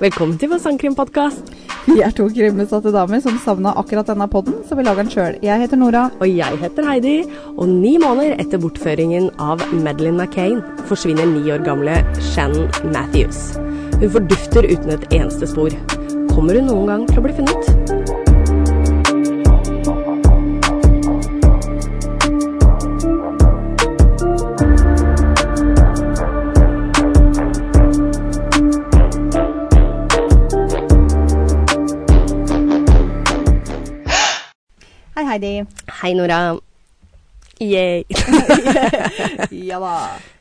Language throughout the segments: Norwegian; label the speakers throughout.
Speaker 1: Velkommen til vår sangkrimpodkast.
Speaker 2: Vi er to krimutsatte damer som savna akkurat denne podden, så vi lager den sjøl. Jeg heter Nora.
Speaker 1: Og jeg heter Heidi. Og ni måneder etter bortføringen av Madeleine McCain forsvinner ni år gamle Shannon Matthews. Hun fordufter uten et eneste spor. Kommer hun noen gang til å bli funnet?
Speaker 2: Hei, Heidi.
Speaker 1: Hei, Nora. Yay.
Speaker 2: Ja da.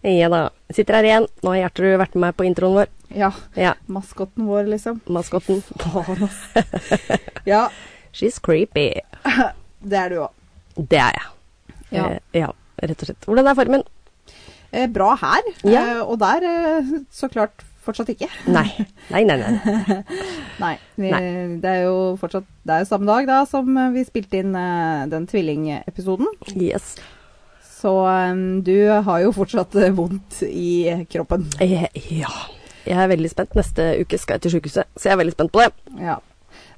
Speaker 1: ja da. Sitter her igjen. Nå har Gjertrud vært med meg på introen vår.
Speaker 2: Ja,
Speaker 1: Ja,
Speaker 2: maskotten vår, liksom.
Speaker 1: maskotten.
Speaker 2: Faen, ass. Ja,
Speaker 1: She's creepy.
Speaker 2: det er du òg.
Speaker 1: Det er jeg.
Speaker 2: Ja.
Speaker 1: Eh, ja, rett og slett. Hvordan er formen?
Speaker 2: Eh, bra her,
Speaker 1: Ja.
Speaker 2: eh, og der eh, så klart fortsatt ikke.
Speaker 1: Nei. Nei, nei, nei.
Speaker 2: Nei. Vi, Det er jo fortsatt det er jo samme dag da som eh, vi spilte inn eh, den tvillingepisoden.
Speaker 1: Yes.
Speaker 2: Så eh, du har jo fortsatt eh, vondt i kroppen.
Speaker 1: Eh, Ja. Jeg er veldig spent. Neste uke skal jeg til sykehuset, så jeg er veldig spent på det.
Speaker 2: Ja.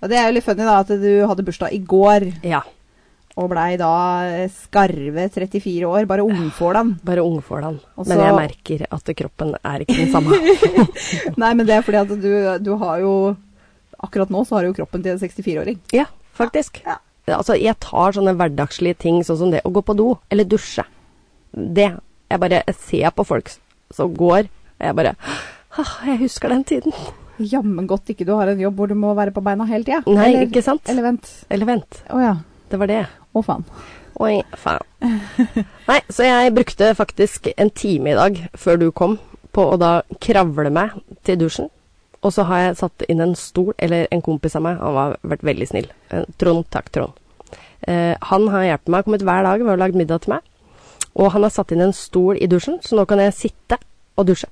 Speaker 2: Og det er jo litt funny da at du hadde bursdag i går.
Speaker 1: Ja.
Speaker 2: Og blei da skarve 34 år, bare ungfålan.
Speaker 1: Bare ungfålan.
Speaker 2: Og
Speaker 1: Men
Speaker 2: så-
Speaker 1: jeg merker at kroppen er ikke den samme.
Speaker 2: Nei, men det er fordi at du, du har jo Akkurat nå så har du jo kroppen til en 64-åring.
Speaker 1: ja, faktisk.
Speaker 2: Ja.
Speaker 1: Altså, jeg tar sånne hverdagslige ting, sånn som det å gå på do eller dusje. Det. Jeg bare jeg ser på folk som går, og jeg bare «Ah, Jeg husker den tiden.
Speaker 2: Jammen godt ikke du har en jobb hvor du må være på beina hele tida.
Speaker 1: Nei, ikke sant?
Speaker 2: Eller vent.
Speaker 1: Eller vent,
Speaker 2: Å ja.
Speaker 1: det var det.
Speaker 2: Å faen.
Speaker 1: Oi, faen. Nei, så jeg brukte faktisk en time i dag før du kom, på å da kravle meg til dusjen. Og så har jeg satt inn en stol, eller en kompis av meg, han har vært veldig snill. Eh, Trond, takk Trond. Eh, han har hjulpet meg, kommet hver dag ved å lage middag til meg. Og han har satt inn en stol i dusjen, så nå kan jeg sitte og dusje.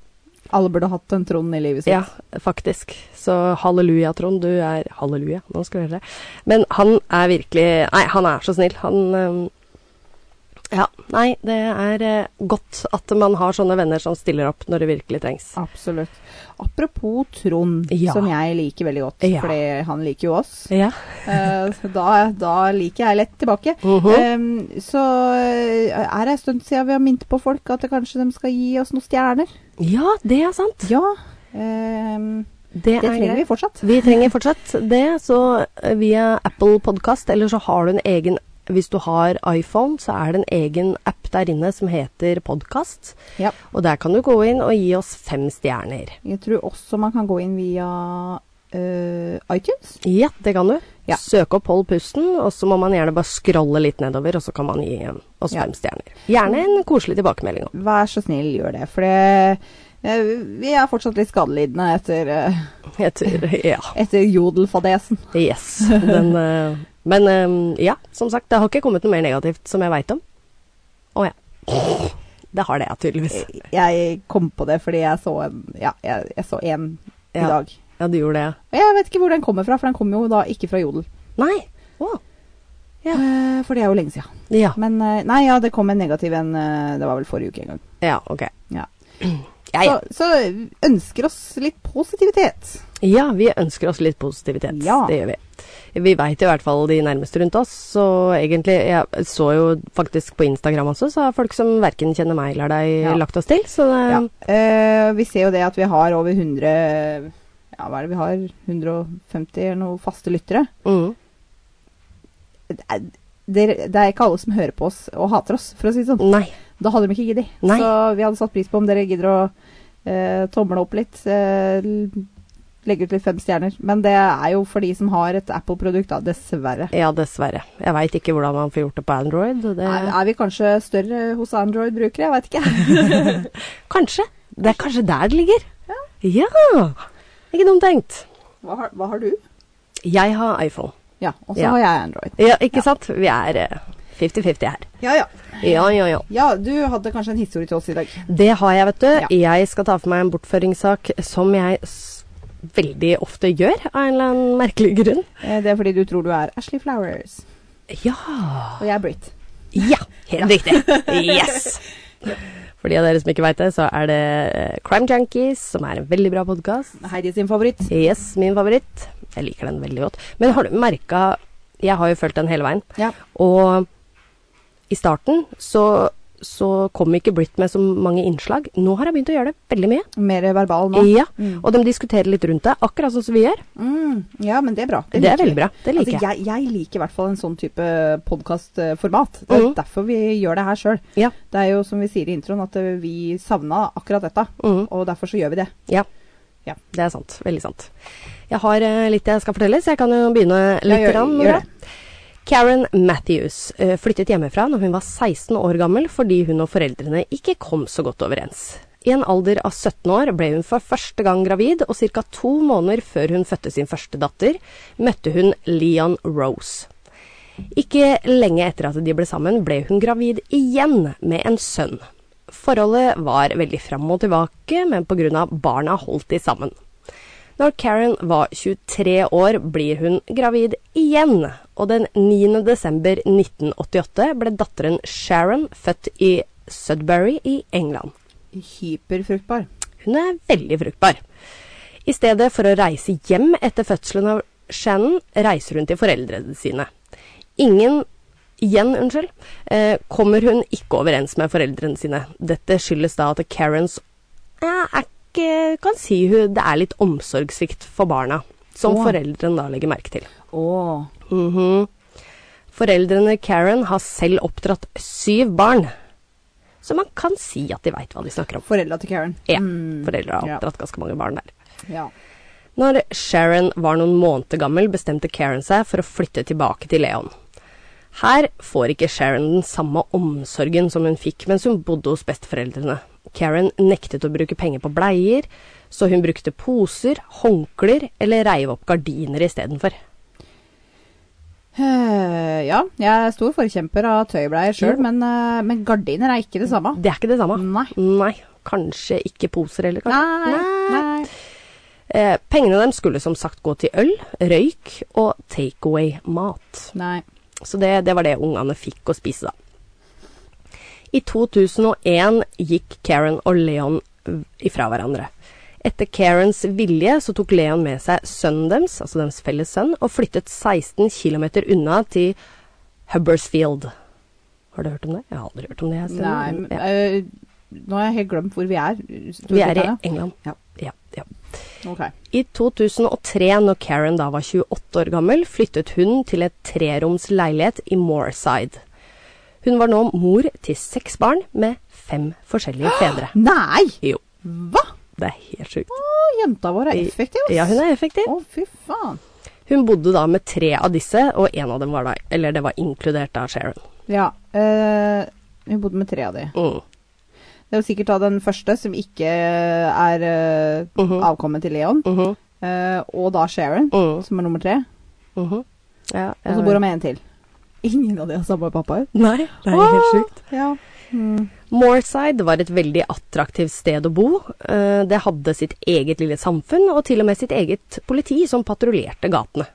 Speaker 2: Alle burde hatt en Trond i livet sitt.
Speaker 1: Ja, faktisk. Så halleluja, Trond. Du er Halleluja, nå skal du høre det. Men han er virkelig Nei, han er så snill. Han øhm, Ja. Nei, det er eh, godt at man har sånne venner som stiller opp når det virkelig trengs.
Speaker 2: Absolutt. Apropos Trond,
Speaker 1: Ja.
Speaker 2: som jeg liker veldig godt,
Speaker 1: Ja.
Speaker 2: fordi han liker jo oss.
Speaker 1: Ja.
Speaker 2: Eh, så da, da liker jeg lett tilbake.
Speaker 1: Mhm.
Speaker 2: Eh, så eh, er det en stund siden vi har minnet på folk at det kanskje de skal gi oss noen stjerner.
Speaker 1: ja, det er sant.
Speaker 2: Ja, ehm,
Speaker 1: Det,
Speaker 2: det trenger vi
Speaker 1: greit.
Speaker 2: fortsatt.
Speaker 1: Vi trenger fortsatt det, så eh, via Apple Podcast, eller så har du en egen Hvis du har iPhone, så er det en egen app der inne som heter Podkast.
Speaker 2: Ja.
Speaker 1: Og der kan du gå inn og gi oss fem stjerner.
Speaker 2: Jeg tror også man kan gå inn via eh, iTunes.
Speaker 1: Ja, det kan du.
Speaker 2: Ja.
Speaker 1: Søke opp Hold pusten, og så må man gjerne bare scrolle litt nedover, og så kan man gi eh, oss
Speaker 2: Ja.
Speaker 1: fem stjerner. Gjerne en koselig tilbakemelding òg.
Speaker 2: Vær så snill, gjør det. For det, eh, vi er fortsatt litt skadelidende etter, eh,
Speaker 1: Ja.
Speaker 2: etter jodelfadesen.
Speaker 1: Yes. Den, eh, men eh, ja, som sagt, det har ikke kommet noe mer negativt som jeg veit om. Å ja. Det har det, ja, tydeligvis.
Speaker 2: Jeg kom på det fordi jeg så en, ja, jeg, jeg så en
Speaker 1: Ja.
Speaker 2: i dag.
Speaker 1: Ja, du gjorde det, ja.
Speaker 2: Og jeg vet ikke hvor den kommer fra, for den kommer jo da ikke fra jodel.
Speaker 1: Nei. Å. Ja.
Speaker 2: Eh, for det er jo lenge siden.
Speaker 1: Ja.
Speaker 2: Men eh, nei, ja, det kom en negativ en eh, Det var vel forrige uke en gang.
Speaker 1: ja, ok.
Speaker 2: Ja.
Speaker 1: Ja, ja.
Speaker 2: Så, så ønsker oss litt positivitet.
Speaker 1: ja, vi ønsker oss litt positivitet.
Speaker 2: Ja.
Speaker 1: Det gjør vi. Vi veit i hvert fall de nærmeste rundt oss, så egentlig Jeg så jo faktisk på Instagram også, så har folk som verken kjenner meg eller deg,
Speaker 2: Ja.
Speaker 1: lagt oss til, så det
Speaker 2: Ja. Eh, vi ser jo det at vi har over 100 Ja, hva er det vi har? 150 eller noe faste lyttere.
Speaker 1: mm.
Speaker 2: Det er, det er- det er ikke alle som hører på oss og hater oss, for å si det sånn.
Speaker 1: Nei.
Speaker 2: Da hadde de ikke giddet.
Speaker 1: Nei.
Speaker 2: Så vi hadde satt pris på om dere gidder å eh, tomle opp litt. eh, l- legge ut litt fem stjerner. Men det er jo for de som har et Apple-produkt, da. Dessverre.
Speaker 1: Ja, dessverre. Jeg veit ikke hvordan man får gjort det på Android. Det,
Speaker 2: Er, er vi kanskje større hos Android-brukere? Jeg veit ikke.
Speaker 1: Kanskje. Det er kanskje der det ligger. Ja. ja. Ikke dumt tenkt.
Speaker 2: Hva har, hva har du?
Speaker 1: Jeg har iPhone.
Speaker 2: Ja, og så
Speaker 1: Ja.
Speaker 2: har jeg Android.
Speaker 1: Ja, ikke sant? Vi er eh, 50-50 her.
Speaker 2: Ja, ja.
Speaker 1: Ja, ja, ja.
Speaker 2: Ja, du hadde kanskje en historie til oss i dag.
Speaker 1: Det har jeg, vet du.
Speaker 2: Ja.
Speaker 1: Jeg skal ta for meg en bortføringssak som jeg s veldig ofte gjør, av en eller annen merkelig grunn.
Speaker 2: Eh, Det er fordi du tror du er Ashley Flowers,
Speaker 1: Ja.
Speaker 2: og jeg er Britt.
Speaker 1: Ja, helt riktig. Yes. For de av dere som ikke veit det, så er det eh, Crime Junkies, som er en veldig bra podkast.
Speaker 2: Heidi sin favoritt.
Speaker 1: Yes, min favoritt. Jeg liker den veldig godt. Men har du merka Jeg har jo fulgt den hele veien.
Speaker 2: Ja.
Speaker 1: Og i starten så, så kom ikke Britt med så mange innslag. Nå har jeg begynt å gjøre det veldig mye.
Speaker 2: Mer verbal nå.
Speaker 1: Ja,
Speaker 2: Mm.
Speaker 1: Og de diskuterer litt rundt det, akkurat sånn som vi gjør.
Speaker 2: Mm, ja, men det er bra.
Speaker 1: Det,
Speaker 2: liker
Speaker 1: er
Speaker 2: vi.
Speaker 1: veldig bra. Det liker
Speaker 2: altså, jeg. Jeg liker i hvert fall en sånn type podkastformat. Det er
Speaker 1: Mhm.
Speaker 2: derfor vi gjør det her sjøl.
Speaker 1: jeg. Ja.
Speaker 2: Det er jo som vi sier i introen, at eh, vi savna akkurat dette.
Speaker 1: Mhm.
Speaker 2: Og derfor så gjør vi det.
Speaker 1: ja.
Speaker 2: Ja.
Speaker 1: Det er sant. Veldig sant. Jeg har eh, litt jeg skal fortelle, så jeg kan jo begynne litt.
Speaker 2: gjør-
Speaker 1: grann med
Speaker 2: gjør det.
Speaker 1: Karen Matthews eh, flyttet hjemmefra når hun var 16 år gammel fordi hun og foreldrene ikke kom så godt overens. I en alder av 17 år ble hun for første gang gravid, og ca. to måneder før hun fødte sin første datter, møtte hun Leon Rose. Ikke lenge etter at de ble sammen, ble hun gravid igjen med en sønn. Forholdet var veldig fram og tilbake, men pga. barna holdt de sammen. Når Karen var 23 år, blir hun gravid igjen, og den 9. desember 1988 ble datteren Sharon født i Sudbury i England.
Speaker 2: Hyperfruktbar.
Speaker 1: Hun er veldig fruktbar. I stedet for å reise hjem etter fødselen av Shannon, reiser hun til foreldrene sine. Ingen Igjen, unnskyld. Eh, kommer hun ikke overens med foreldrene sine. Dette skyldes da at Karens eh, er ikke Kan si hun det er litt omsorgssvikt for barna. Som
Speaker 2: Åh.
Speaker 1: foreldrene da legger merke til.
Speaker 2: Åh.
Speaker 1: Mhm. Foreldrene Karen har selv oppdratt syv barn. Så man kan si at de veit hva de snakker om.
Speaker 2: Foreldra til Karen.
Speaker 1: Ja,
Speaker 2: Mm.
Speaker 1: foreldre har
Speaker 2: Ja.
Speaker 1: oppdratt ganske mange barn der.
Speaker 2: Ja.
Speaker 1: Når Sharon var noen måneder gammel, bestemte Karen seg for å flytte tilbake til Leon. Her får ikke Sharon den samme omsorgen som hun fikk mens hun bodde hos besteforeldrene. Karen nektet å bruke penger på bleier, så hun brukte poser, håndklær eller reiv opp gardiner istedenfor.
Speaker 2: Eh, ja, jeg er stor forkjemper av tøybleier sjøl,
Speaker 1: Jo.
Speaker 2: men, eh, men gardiner er ikke det samme.
Speaker 1: Det er ikke det samme.
Speaker 2: Nei.
Speaker 1: Nei, kanskje ikke poser heller, kanskje.
Speaker 2: Mm. Nei. Nei.
Speaker 1: Eh, pengene dem skulle som sagt gå til øl, røyk og takeaway-mat.
Speaker 2: Nei.
Speaker 1: Så det, det var det ungene fikk å spise, da. I 2001 gikk Karen og Leon ifra hverandre. Etter Karens vilje så tok Leon med seg sønnen deres, altså deres felles sønn, og flyttet 16 km unna til Hubbersfield. Har du hørt om det? Jeg har aldri hørt om det. jeg, Stine.
Speaker 2: Nei. men,
Speaker 1: Altså, Ja.
Speaker 2: eh, nå har jeg helt glemt hvor vi er.
Speaker 1: Vi er i England.
Speaker 2: Ja.
Speaker 1: Ja, ja.
Speaker 2: Ok.
Speaker 1: I 2003, når Karen da var 28 år gammel, flyttet hun til et treroms leilighet i Moorside. Hun var nå mor til seks barn med fem forskjellige fedre.
Speaker 2: Nei!
Speaker 1: Jo,
Speaker 2: Hva?
Speaker 1: det er helt sjukt.
Speaker 2: Å, jenta vår er effektiv, ass.
Speaker 1: Ja, hun er effektiv.
Speaker 2: Å, fy faen.
Speaker 1: Hun bodde da med tre av disse, og en av dem var da, eller det var inkludert av Sharon.
Speaker 2: Ja. eh, hun bodde med tre av de.
Speaker 1: Mm.
Speaker 2: Det er jo sikkert da den første som ikke er eh,
Speaker 1: Mhm.
Speaker 2: avkommet til Leon,
Speaker 1: Mhm,
Speaker 2: eh, og da Sharon,
Speaker 1: mhm,
Speaker 2: som er nummer tre.
Speaker 1: mhm. Ja,
Speaker 2: Og så
Speaker 1: jeg-
Speaker 2: bor hun med en til. Ingen av de har samme pappaer.
Speaker 1: Nei, det er helt sjukt.
Speaker 2: Ja. Mm.
Speaker 1: Moorside var et veldig attraktivt sted å bo. Eh, Det hadde sitt eget lille samfunn, og til og med sitt eget politi som patruljerte gatene.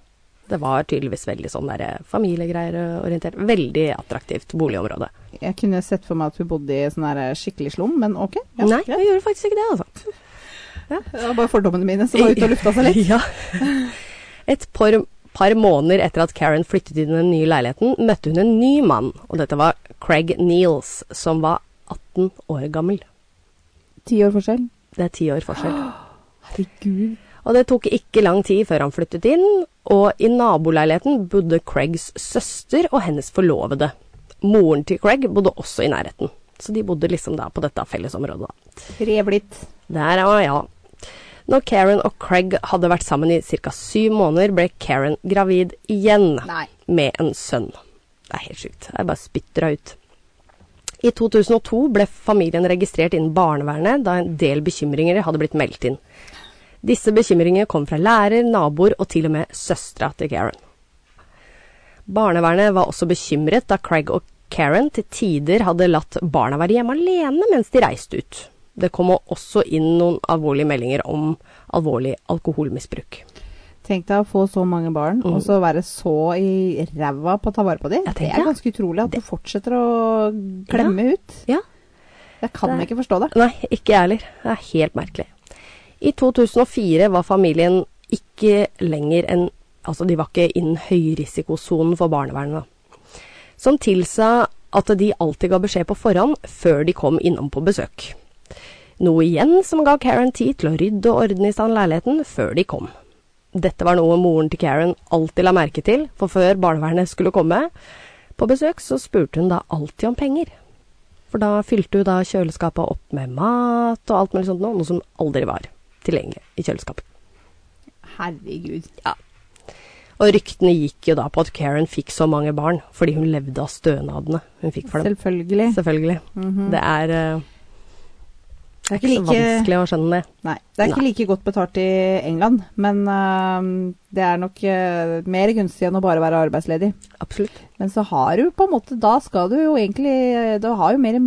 Speaker 1: Det var tydeligvis veldig sånn der familiegreier eh, orientert. Veldig attraktivt boligområde.
Speaker 2: Jeg kunne sett for meg at hun bodde i sånn her skikkelig slum, men ok. Ja,
Speaker 1: Nei,
Speaker 2: greit.
Speaker 1: jeg gjorde faktisk ikke det, altså.
Speaker 2: Det var bare fordommene mine som var ute og lufta seg litt.
Speaker 1: Ja. Et par, par måneder etter at Karen flyttet inn i den nye leiligheten, møtte hun en ny mann, og dette var Craig Neals, som var 18 år gammel.
Speaker 2: Ti år forskjell.
Speaker 1: Det er ti år forskjell.
Speaker 2: Herregud.
Speaker 1: Og det tok ikke lang tid før han flyttet inn, og i naboleiligheten bodde Craigs søster og hennes forlovede. Moren til Craig bodde også i nærheten, så de bodde liksom da på dette fellesområdet. da.
Speaker 2: Tre blitt.
Speaker 1: Der, ja, ja. Når Karen og Craig hadde vært sammen i ca. syv måneder, ble Karen gravid igjen
Speaker 2: Nei.
Speaker 1: med en sønn. Det er helt sjukt. Jeg bare spytter det ut. I 2002 ble familien registrert innen barnevernet da en del bekymringer hadde blitt meldt inn. Disse bekymringene kom fra lærer, naboer og til og med søstera til Karen. Barnevernet var også bekymret da Craig og Karen til tider hadde latt barna være hjemme alene mens de reiste ut. Det kom også inn noen alvorlige meldinger om alvorlig alkoholmisbruk.
Speaker 2: Tenk deg å få så mange barn,
Speaker 1: Mm.
Speaker 2: og så være så i ræva på å ta vare på dem.
Speaker 1: Ja, tenk
Speaker 2: Det
Speaker 1: deg.
Speaker 2: er ganske utrolig at du fortsetter å glemme ut.
Speaker 1: Ja.
Speaker 2: Jeg kan
Speaker 1: Det-
Speaker 2: ikke forstå det.
Speaker 1: Nei, ikke jeg heller. Det er helt merkelig. I 2004 var familien ikke lenger enn Altså, de var ikke innen høyrisikosonen for barnevernet, da. Som tilsa at de alltid ga beskjed på forhånd før de kom innom på besøk. Noe igjen som ga Karen tid til å rydde og ordne i stand leiligheten før de kom. Dette var noe moren til Karen alltid la merke til, for før barnevernet skulle komme på besøk, så spurte hun da alltid om penger. For da fylte hun da kjøleskapet opp med mat og alt mulig sånt, noe, noe som aldri var tilgjengelig i kjøleskapet.
Speaker 2: Herregud.
Speaker 1: Og ryktene gikk jo da på at Karen fikk så mange barn fordi hun levde av stønadene hun fikk for dem.
Speaker 2: Selvfølgelig.
Speaker 1: Selvfølgelig.
Speaker 2: Mhm.
Speaker 1: Det er, eh,
Speaker 2: Det er
Speaker 1: ikke så vanskelig å skjønne det.
Speaker 2: Nei, det er ikke like godt betalt i England, men øhm, det er nok øh, mer gunstig enn å bare være arbeidsledig.
Speaker 1: Absolutt.
Speaker 2: Men så har du på en måte, da skal du jo egentlig Du har jo mer,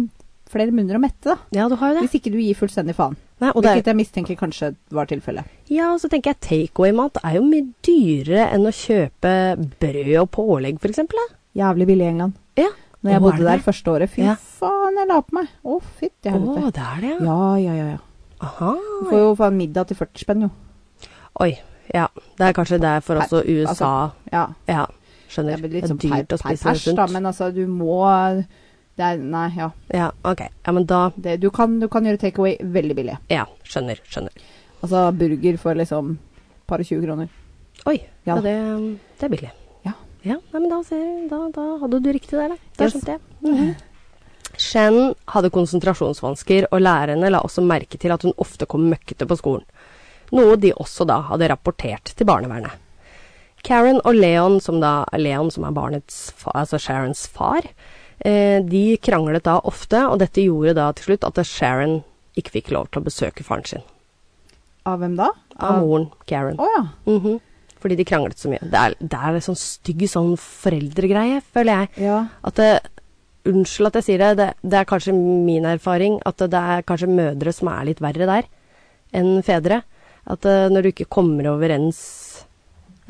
Speaker 2: flere munner å mette, da.
Speaker 1: Ja, du har jo det.
Speaker 2: Hvis ikke du gir fullstendig faen.
Speaker 1: Nei, og det er,
Speaker 2: Hvilket jeg mistenker kanskje var tilfellet.
Speaker 1: ja, og så tenker jeg takeaway-mat er jo mye dyrere enn å kjøpe brød og pålegg, for eksempel. da.
Speaker 2: Jævlig billig i England.
Speaker 1: Ja.
Speaker 2: Når
Speaker 1: Å,
Speaker 2: jeg
Speaker 1: er
Speaker 2: bodde
Speaker 1: det
Speaker 2: der
Speaker 1: det?
Speaker 2: første året, fy
Speaker 1: Ja.
Speaker 2: faen, jeg la på meg. Å, fytti helvete.
Speaker 1: Å, det er det, ja.
Speaker 2: Ja, ja, ja. ja.
Speaker 1: Aha.
Speaker 2: Du får jo faen middag til 40 spenn, jo.
Speaker 1: Oi. Ja. Det er kanskje derfor også USA
Speaker 2: Ja.
Speaker 1: Ja, skjønner.
Speaker 2: Det blir litt
Speaker 1: det
Speaker 2: sånn
Speaker 1: er
Speaker 2: per,
Speaker 1: dyrt å
Speaker 2: per
Speaker 1: spise
Speaker 2: pers, da,
Speaker 1: sunt.
Speaker 2: men altså, du må det er, Nei, ja.
Speaker 1: Ja, ok. Ja, men da
Speaker 2: Det, du, kan, du kan gjøre takeaway veldig billig.
Speaker 1: Ja, skjønner. Skjønner.
Speaker 2: Altså burger for liksom par og 20 kroner.
Speaker 1: Oi,
Speaker 2: Ja.
Speaker 1: ja. det, det er billig.
Speaker 2: Ja.
Speaker 1: Ja, nei, men da, ser- da, da hadde du riktig der, da. Da
Speaker 2: Yes.
Speaker 1: skjønte jeg. Mhm. Shen hadde konsentrasjonsvansker, og lærerne la også merke til at hun ofte kom møkkete på skolen. Noe de også da hadde rapportert til barnevernet. Karen og Leon, som da Leon som er barnets fa, altså Sharons far, eh, de kranglet da ofte, og dette gjorde da til slutt at Sharon ikke fikk lov til å besøke faren sin.
Speaker 2: Av hvem da?
Speaker 1: Av moren, Karen.
Speaker 2: Å ja.
Speaker 1: Mhm. Fordi de kranglet så mye. Det er, det er en sånn stygg sånn foreldregreie, føler jeg.
Speaker 2: ja.
Speaker 1: At det, unnskyld at jeg sier det, det, det er kanskje min erfaring at det er kanskje mødre som er litt verre der enn fedre. At eh, når du ikke kommer overens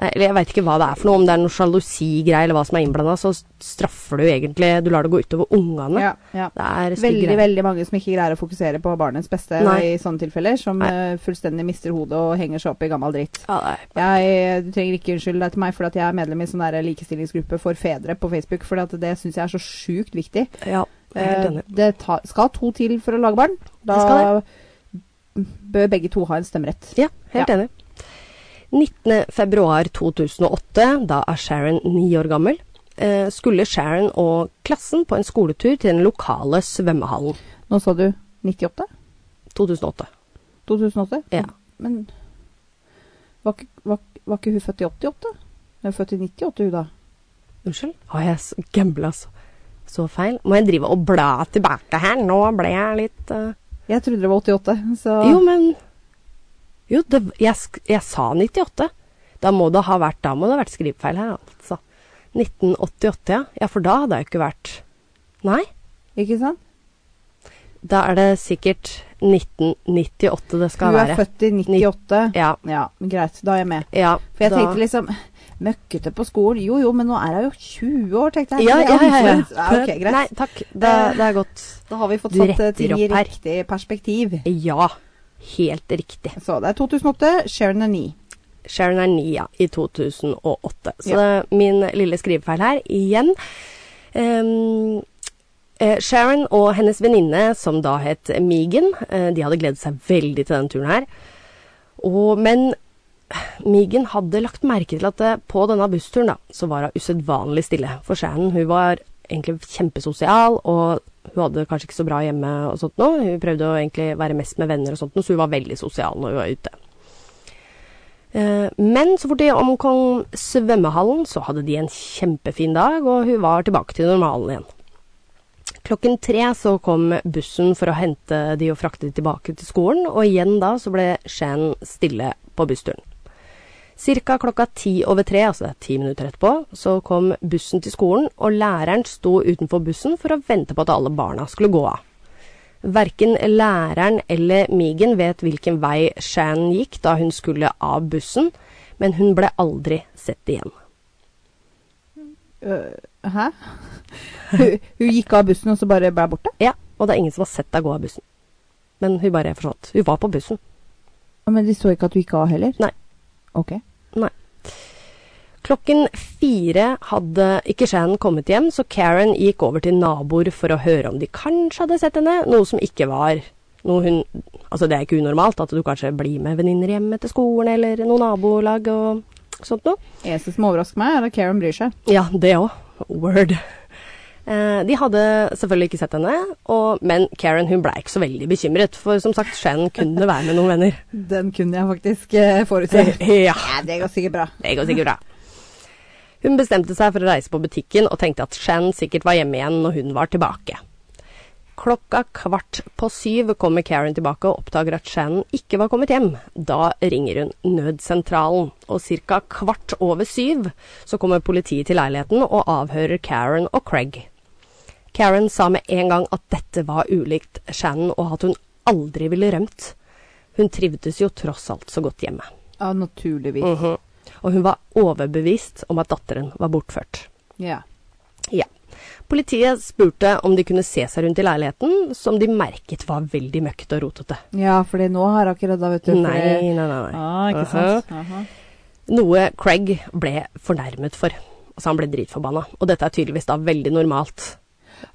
Speaker 1: Nei, Eller jeg veit ikke hva det er for noe, om det er noe sjalusigreie eller hva som er innblanda, så straffer du egentlig Du lar det gå utover ungene.
Speaker 2: ja, ja.
Speaker 1: Det er stygg
Speaker 2: Veldig,
Speaker 1: greie.
Speaker 2: veldig mange som ikke greier å fokusere på barnets beste
Speaker 1: Nei.
Speaker 2: i sånne tilfeller. Som
Speaker 1: Nei.
Speaker 2: eh, fullstendig mister hodet og henger seg opp i gammel dritt.
Speaker 1: Ja, det er-
Speaker 2: Jeg, du trenger ikke unnskylde deg til meg for at jeg er medlem i sånn der likestillingsgruppe for fedre på Facebook, for at det syns jeg er så sjukt viktig.
Speaker 1: ja, jeg er helt
Speaker 2: Eh,
Speaker 1: enig.
Speaker 2: Det ta, skal to til for å lage barn. Da
Speaker 1: skal
Speaker 2: bør begge to ha en stemmerett.
Speaker 1: Ja, helt enig. 19. februar 2008, da er Sharon ni år gammel, eh, skulle Sharon og klassen på en skoletur til den lokale svømmehallen.
Speaker 2: Nå så du 98?
Speaker 1: 2008.
Speaker 2: 2008?
Speaker 1: Ja.
Speaker 2: Men var ikke, var, var ikke hun født i 88? Hun er født i 98, hun da.
Speaker 1: Unnskyld? Har jeg s- gambla så, så feil? Må jeg drive og bla tilbake her? Nå ble jeg litt eh,
Speaker 2: Jeg trodde det var 88, så
Speaker 1: Jo, men Jo, det, jeg, sk- jeg sa 98. Da må det ha vært, da må det ha vært skrivefeil her, altså. 1988, ja. Ja, for da hadde jeg jo ikke vært Nei.
Speaker 2: Ikke sant?
Speaker 1: Da er det sikkert 1998 det skal
Speaker 2: hun
Speaker 1: være.
Speaker 2: er født i 98.
Speaker 1: Ja.
Speaker 2: Ja, greit. Da er jeg med.
Speaker 1: ja
Speaker 2: For jeg
Speaker 1: da-
Speaker 2: tenkte liksom Møkkete på skolen. Jo jo, men nå er hun jo 20 år, tenkte jeg. liksom-
Speaker 1: ja, ja, ja, ja.
Speaker 2: ok, greit.
Speaker 1: Nei, takk. Det, det er godt.
Speaker 2: da har vi fått
Speaker 1: du
Speaker 2: satt eh,
Speaker 1: retter
Speaker 2: ting i
Speaker 1: opp her.
Speaker 2: riktig perspektiv.
Speaker 1: Ja. Helt riktig.
Speaker 2: Så det er 2008, Sharon er 9.
Speaker 1: Sharon er nia i 2008. Så
Speaker 2: Ja.
Speaker 1: det er min lille skrivefeil her igjen. Ehm, eh, Sharon og hennes venninne, som da het Megan, eh, de hadde gledet seg veldig til denne turen her. Og, men Megan hadde lagt merke til at eh, på denne bussturen da, så var hun usedvanlig stille. For Sharon hun var egentlig kjempesosial, og hun hadde kanskje ikke så bra hjemme og sånt nå. Hun prøvde å egentlig være mest med venner og sånt nå, så hun var veldig sosial når hun var ute. Eh, Men så fort de omkom svømmehallen, så hadde de en kjempefin dag, og hun var tilbake til normalen igjen. Klokken tre så kom bussen for å hente de og frakte de tilbake til skolen, og igjen da så ble Shan stille på bussturen. Cirka klokka ti over tre, altså det er ti minutter etterpå, så kom bussen til skolen, og læreren sto utenfor bussen for å vente på at alle barna skulle gå av. Verken læreren eller Megan vet hvilken vei Shan gikk da hun skulle av bussen, men hun ble aldri sett igjen.
Speaker 2: Øh, hæ? hun, hun gikk av bussen og så bare ble borte?
Speaker 1: Ja, Og det er ingen som har sett deg gå av bussen. Men hun bare forsvant. Hun var på bussen.
Speaker 2: Men de så ikke at du gikk av heller?
Speaker 1: Nei.
Speaker 2: Ok.
Speaker 1: Klokken fire hadde ikke Shan kommet hjem, så Karen gikk over til naboer for å høre om de kanskje hadde sett henne, noe som ikke var noe hun Altså, det er ikke unormalt at du kanskje blir med venninner hjem etter skolen eller noen nabolag og sånt noe.
Speaker 2: Eneste som overrasker meg, er at Karen bryr seg.
Speaker 1: Ja, det òg. Word. Eh, de hadde selvfølgelig ikke sett henne, og, men Karen hun ble ikke så veldig bekymret, for som sagt, Shan kunne være med noen venner.
Speaker 2: Den kunne jeg faktisk eh, forutse.
Speaker 1: ja.
Speaker 2: Ja, det går sikkert bra.
Speaker 1: Det går sikkert bra. Hun bestemte seg for å reise på butikken og tenkte at Shan sikkert var hjemme igjen når hun var tilbake. Klokka kvart på syv kommer Karen tilbake og oppdager at Shan ikke var kommet hjem. Da ringer hun nødsentralen, og ca. kvart over syv så kommer politiet til leiligheten og avhører Karen og Craig. Karen sa med en gang at dette var ulikt Shannon og at hun aldri ville rømt. Hun trivdes jo tross alt så godt hjemme.
Speaker 2: Ja, naturligvis.
Speaker 1: Mhm. Og hun var overbevist om at datteren var bortført.
Speaker 2: Ja.
Speaker 1: Ja. Politiet spurte om de kunne se seg rundt i leiligheten, som de merket var veldig møkkete og rotete.
Speaker 2: ja, fordi nå har hun ikke redda, vet du. fordi-
Speaker 1: Nei, nei, nei. nei.
Speaker 2: Ah, ikke sant. Aha.
Speaker 1: Noe Craig ble fornærmet for. Altså, han ble dritforbanna. Og dette er tydeligvis da veldig normalt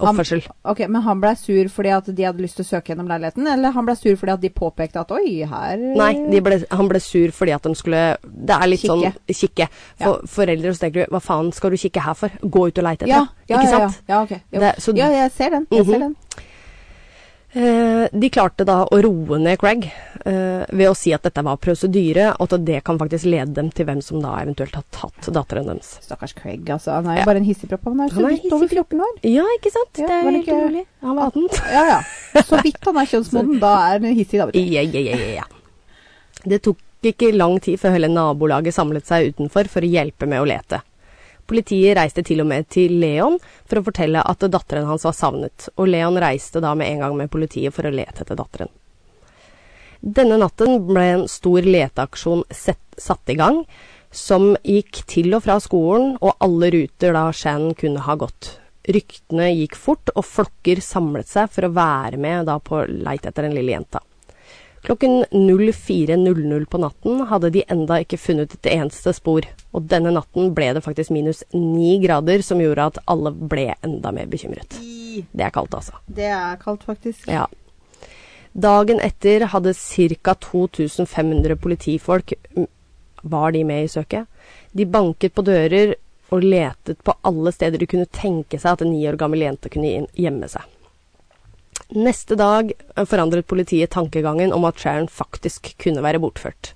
Speaker 2: Han-
Speaker 1: oppførsel.
Speaker 2: Ok, Men han blei sur fordi at de hadde lyst til å søke gjennom leiligheten, eller han blei sur fordi at de påpekte at oi, her
Speaker 1: Nei, de ble, han ble sur fordi at de skulle Det er litt sånn
Speaker 2: Kikke.
Speaker 1: kikke. For foreldre så tenker du hva faen skal du kikke her for? Gå ut og leite etter.
Speaker 2: ja, ja,
Speaker 1: ikke
Speaker 2: ja,
Speaker 1: sant?
Speaker 2: Ja, ja, ok. Jo.
Speaker 1: Det- så-
Speaker 2: ja, jeg ser den. Jeg ser
Speaker 1: Mhm.
Speaker 2: den.
Speaker 1: Eh, de klarte da å roe ned Craig eh, ved å si at dette var prosedyre, og at det kan faktisk lede dem til hvem som da eventuelt har tatt datteren deres.
Speaker 2: Stakkars Craig, altså. Han er jo
Speaker 1: Ja.
Speaker 2: bare en hissigpropp. Han er jo
Speaker 1: Han
Speaker 2: så
Speaker 1: er
Speaker 2: vidt over 14 år.
Speaker 1: Ja, ikke sant?
Speaker 2: Ja,
Speaker 1: det
Speaker 2: var
Speaker 1: er
Speaker 2: det
Speaker 1: helt
Speaker 2: ikke-
Speaker 1: umulig. Han var 18.
Speaker 2: Ja, ja. Så vidt han er kjønnsmoden, da er han hissig, da. vet du.
Speaker 1: Ja, ja, ja, ja, ja. Det tok ikke lang tid før hele nabolaget samlet seg utenfor for å hjelpe med å lete. Politiet reiste til og med til Leon for å fortelle at datteren hans var savnet, og Leon reiste da med en gang med politiet for å lete etter datteren. Denne natten ble en stor leteaksjon sett, satt i gang, som gikk til og fra skolen og alle ruter da Shan kunne ha gått. Ryktene gikk fort, og flokker samlet seg for å være med da på leit etter den lille jenta. Klokken 04.00 på natten hadde de enda ikke funnet et eneste spor, og denne natten ble det faktisk minus ni grader, som gjorde at alle ble enda mer bekymret. Det er kaldt, altså.
Speaker 2: Det er kaldt, faktisk.
Speaker 1: Ja. Dagen etter hadde ca. 2500 politifolk m, Var de med i søket? De banket på dører og letet på alle steder de kunne tenke seg at en ni år gammel jente kunne inn- gjemme seg. Neste dag eh, forandret politiet tankegangen om at Sharon faktisk kunne være bortført.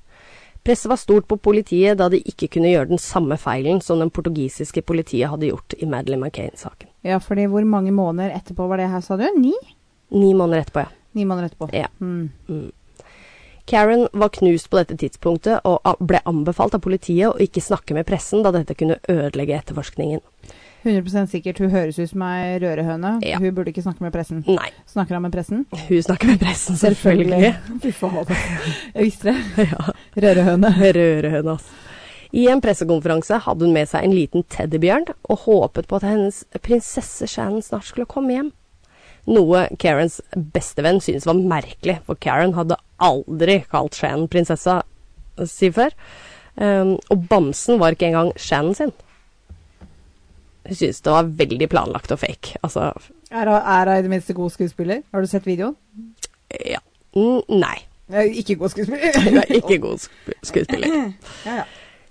Speaker 1: Presset var stort på politiet da de ikke kunne gjøre den samme feilen som den portugisiske politiet hadde gjort i Madeleine McCain-saken.
Speaker 2: Ja, fordi hvor mange måneder etterpå var det her, sa du? Ni?
Speaker 1: Ni måneder etterpå, ja.
Speaker 2: Ni måneder etterpå.
Speaker 1: Ja.
Speaker 2: Mm.
Speaker 1: Karen var knust på dette tidspunktet og a- ble anbefalt av politiet å ikke snakke med pressen, da dette kunne ødelegge etterforskningen.
Speaker 2: 100 sikkert. Hun høres ut som ei rørehøne.
Speaker 1: Ja.
Speaker 2: Hun burde ikke snakke med pressen.
Speaker 1: Nei,
Speaker 2: Snakker han med pressen?
Speaker 1: hun snakker med pressen, selvfølgelig.
Speaker 2: Fy faen. Jeg visste det. Rørehøne.
Speaker 1: Rørehøne, ass. I en pressekonferanse hadde hun med seg en liten teddybjørn og håpet på at hennes prinsesse Shannon snart skulle komme hjem. Noe Karens bestevenn syntes var merkelig, for Karen hadde aldri kalt Shannon prinsessa eh, si før. Um, og bamsen var ikke engang Shannon sin. Hun syntes det var veldig planlagt og fake. Altså,
Speaker 2: Er hun- er hun i det minste god skuespiller? Har du sett videoen?
Speaker 1: ja. Mm, nei.
Speaker 2: Eh, Ikke god
Speaker 1: Hun
Speaker 2: skuespiller.
Speaker 1: er ikke god sku- skuespiller.
Speaker 2: ja, ja.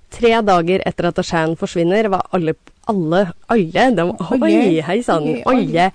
Speaker 1: Tre dager etter at Ashan forsvinner, var alle Alle, alle de, Oi,
Speaker 2: Alle.
Speaker 1: hei sann!
Speaker 2: Oi,
Speaker 1: Alle!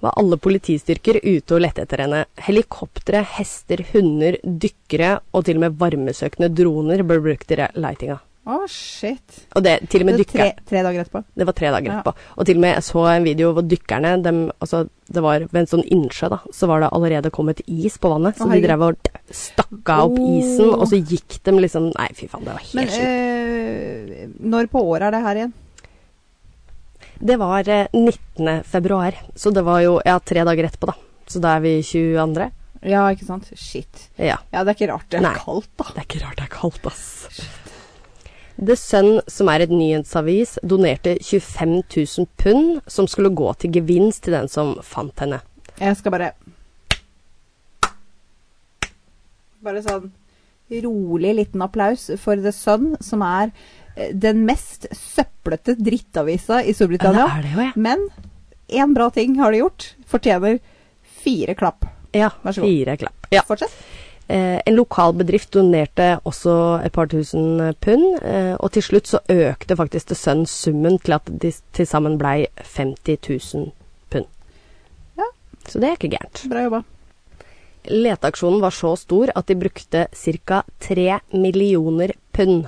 Speaker 1: Var alle politistyrker ute og lette etter henne. Helikoptre, hester, hunder, dykkere og til og med varmesøkende droner ble brukt i leitinga.
Speaker 2: Å, shit.
Speaker 1: Og det, til og med
Speaker 2: Det er
Speaker 1: dykkere.
Speaker 2: tre, tre dager etterpå.
Speaker 1: Det var tre dager
Speaker 2: Ja.
Speaker 1: etterpå. Og til og med jeg så en video hvor dykkerne dem, altså, Det var ved en sånn innsjø, da. Så var det allerede kommet is på vannet. Så
Speaker 2: Å,
Speaker 1: de
Speaker 2: herregud.
Speaker 1: drev og stakk av opp isen,
Speaker 2: Oh.
Speaker 1: og så gikk dem liksom Nei, fy faen, det var
Speaker 2: Men
Speaker 1: helt sjukt.
Speaker 2: eh, når på året er det her igjen?
Speaker 1: Det var eh, 19. februar, så det var jo ja, tre dager etterpå, da. Så da er vi 22.
Speaker 2: Ja, ikke sant? Shit.
Speaker 1: Ja.
Speaker 2: Ja, det er ikke rart det er
Speaker 1: Nei.
Speaker 2: kaldt, da.
Speaker 1: Det er ikke rart det er kaldt, ass. The Sun, som er et nyhetsavis, donerte 25 000 pund som skulle gå til gevinst til den som fant henne.
Speaker 2: Jeg skal bare Bare sånn rolig liten applaus for The Sun, som er eh, den mest søplete drittavisa i
Speaker 1: Ja, det
Speaker 2: Storbritannia.
Speaker 1: er det jo, ja.
Speaker 2: Men én bra ting har de gjort. Fortjener fire klapp.
Speaker 1: Ja,
Speaker 2: Vær så god.
Speaker 1: fire klapp. Ja.
Speaker 2: Fortsett.
Speaker 1: Eh, en lokal bedrift donerte også et par tusen eh, pund, eh, og til slutt så økte faktisk The Sun summen til at de s- til sammen blei 50 000 pund.
Speaker 2: Ja.
Speaker 1: Så det er ikke gærent.
Speaker 2: Bra jobba.
Speaker 1: Leteaksjonen var så stor at de brukte ca. 3 millioner pund.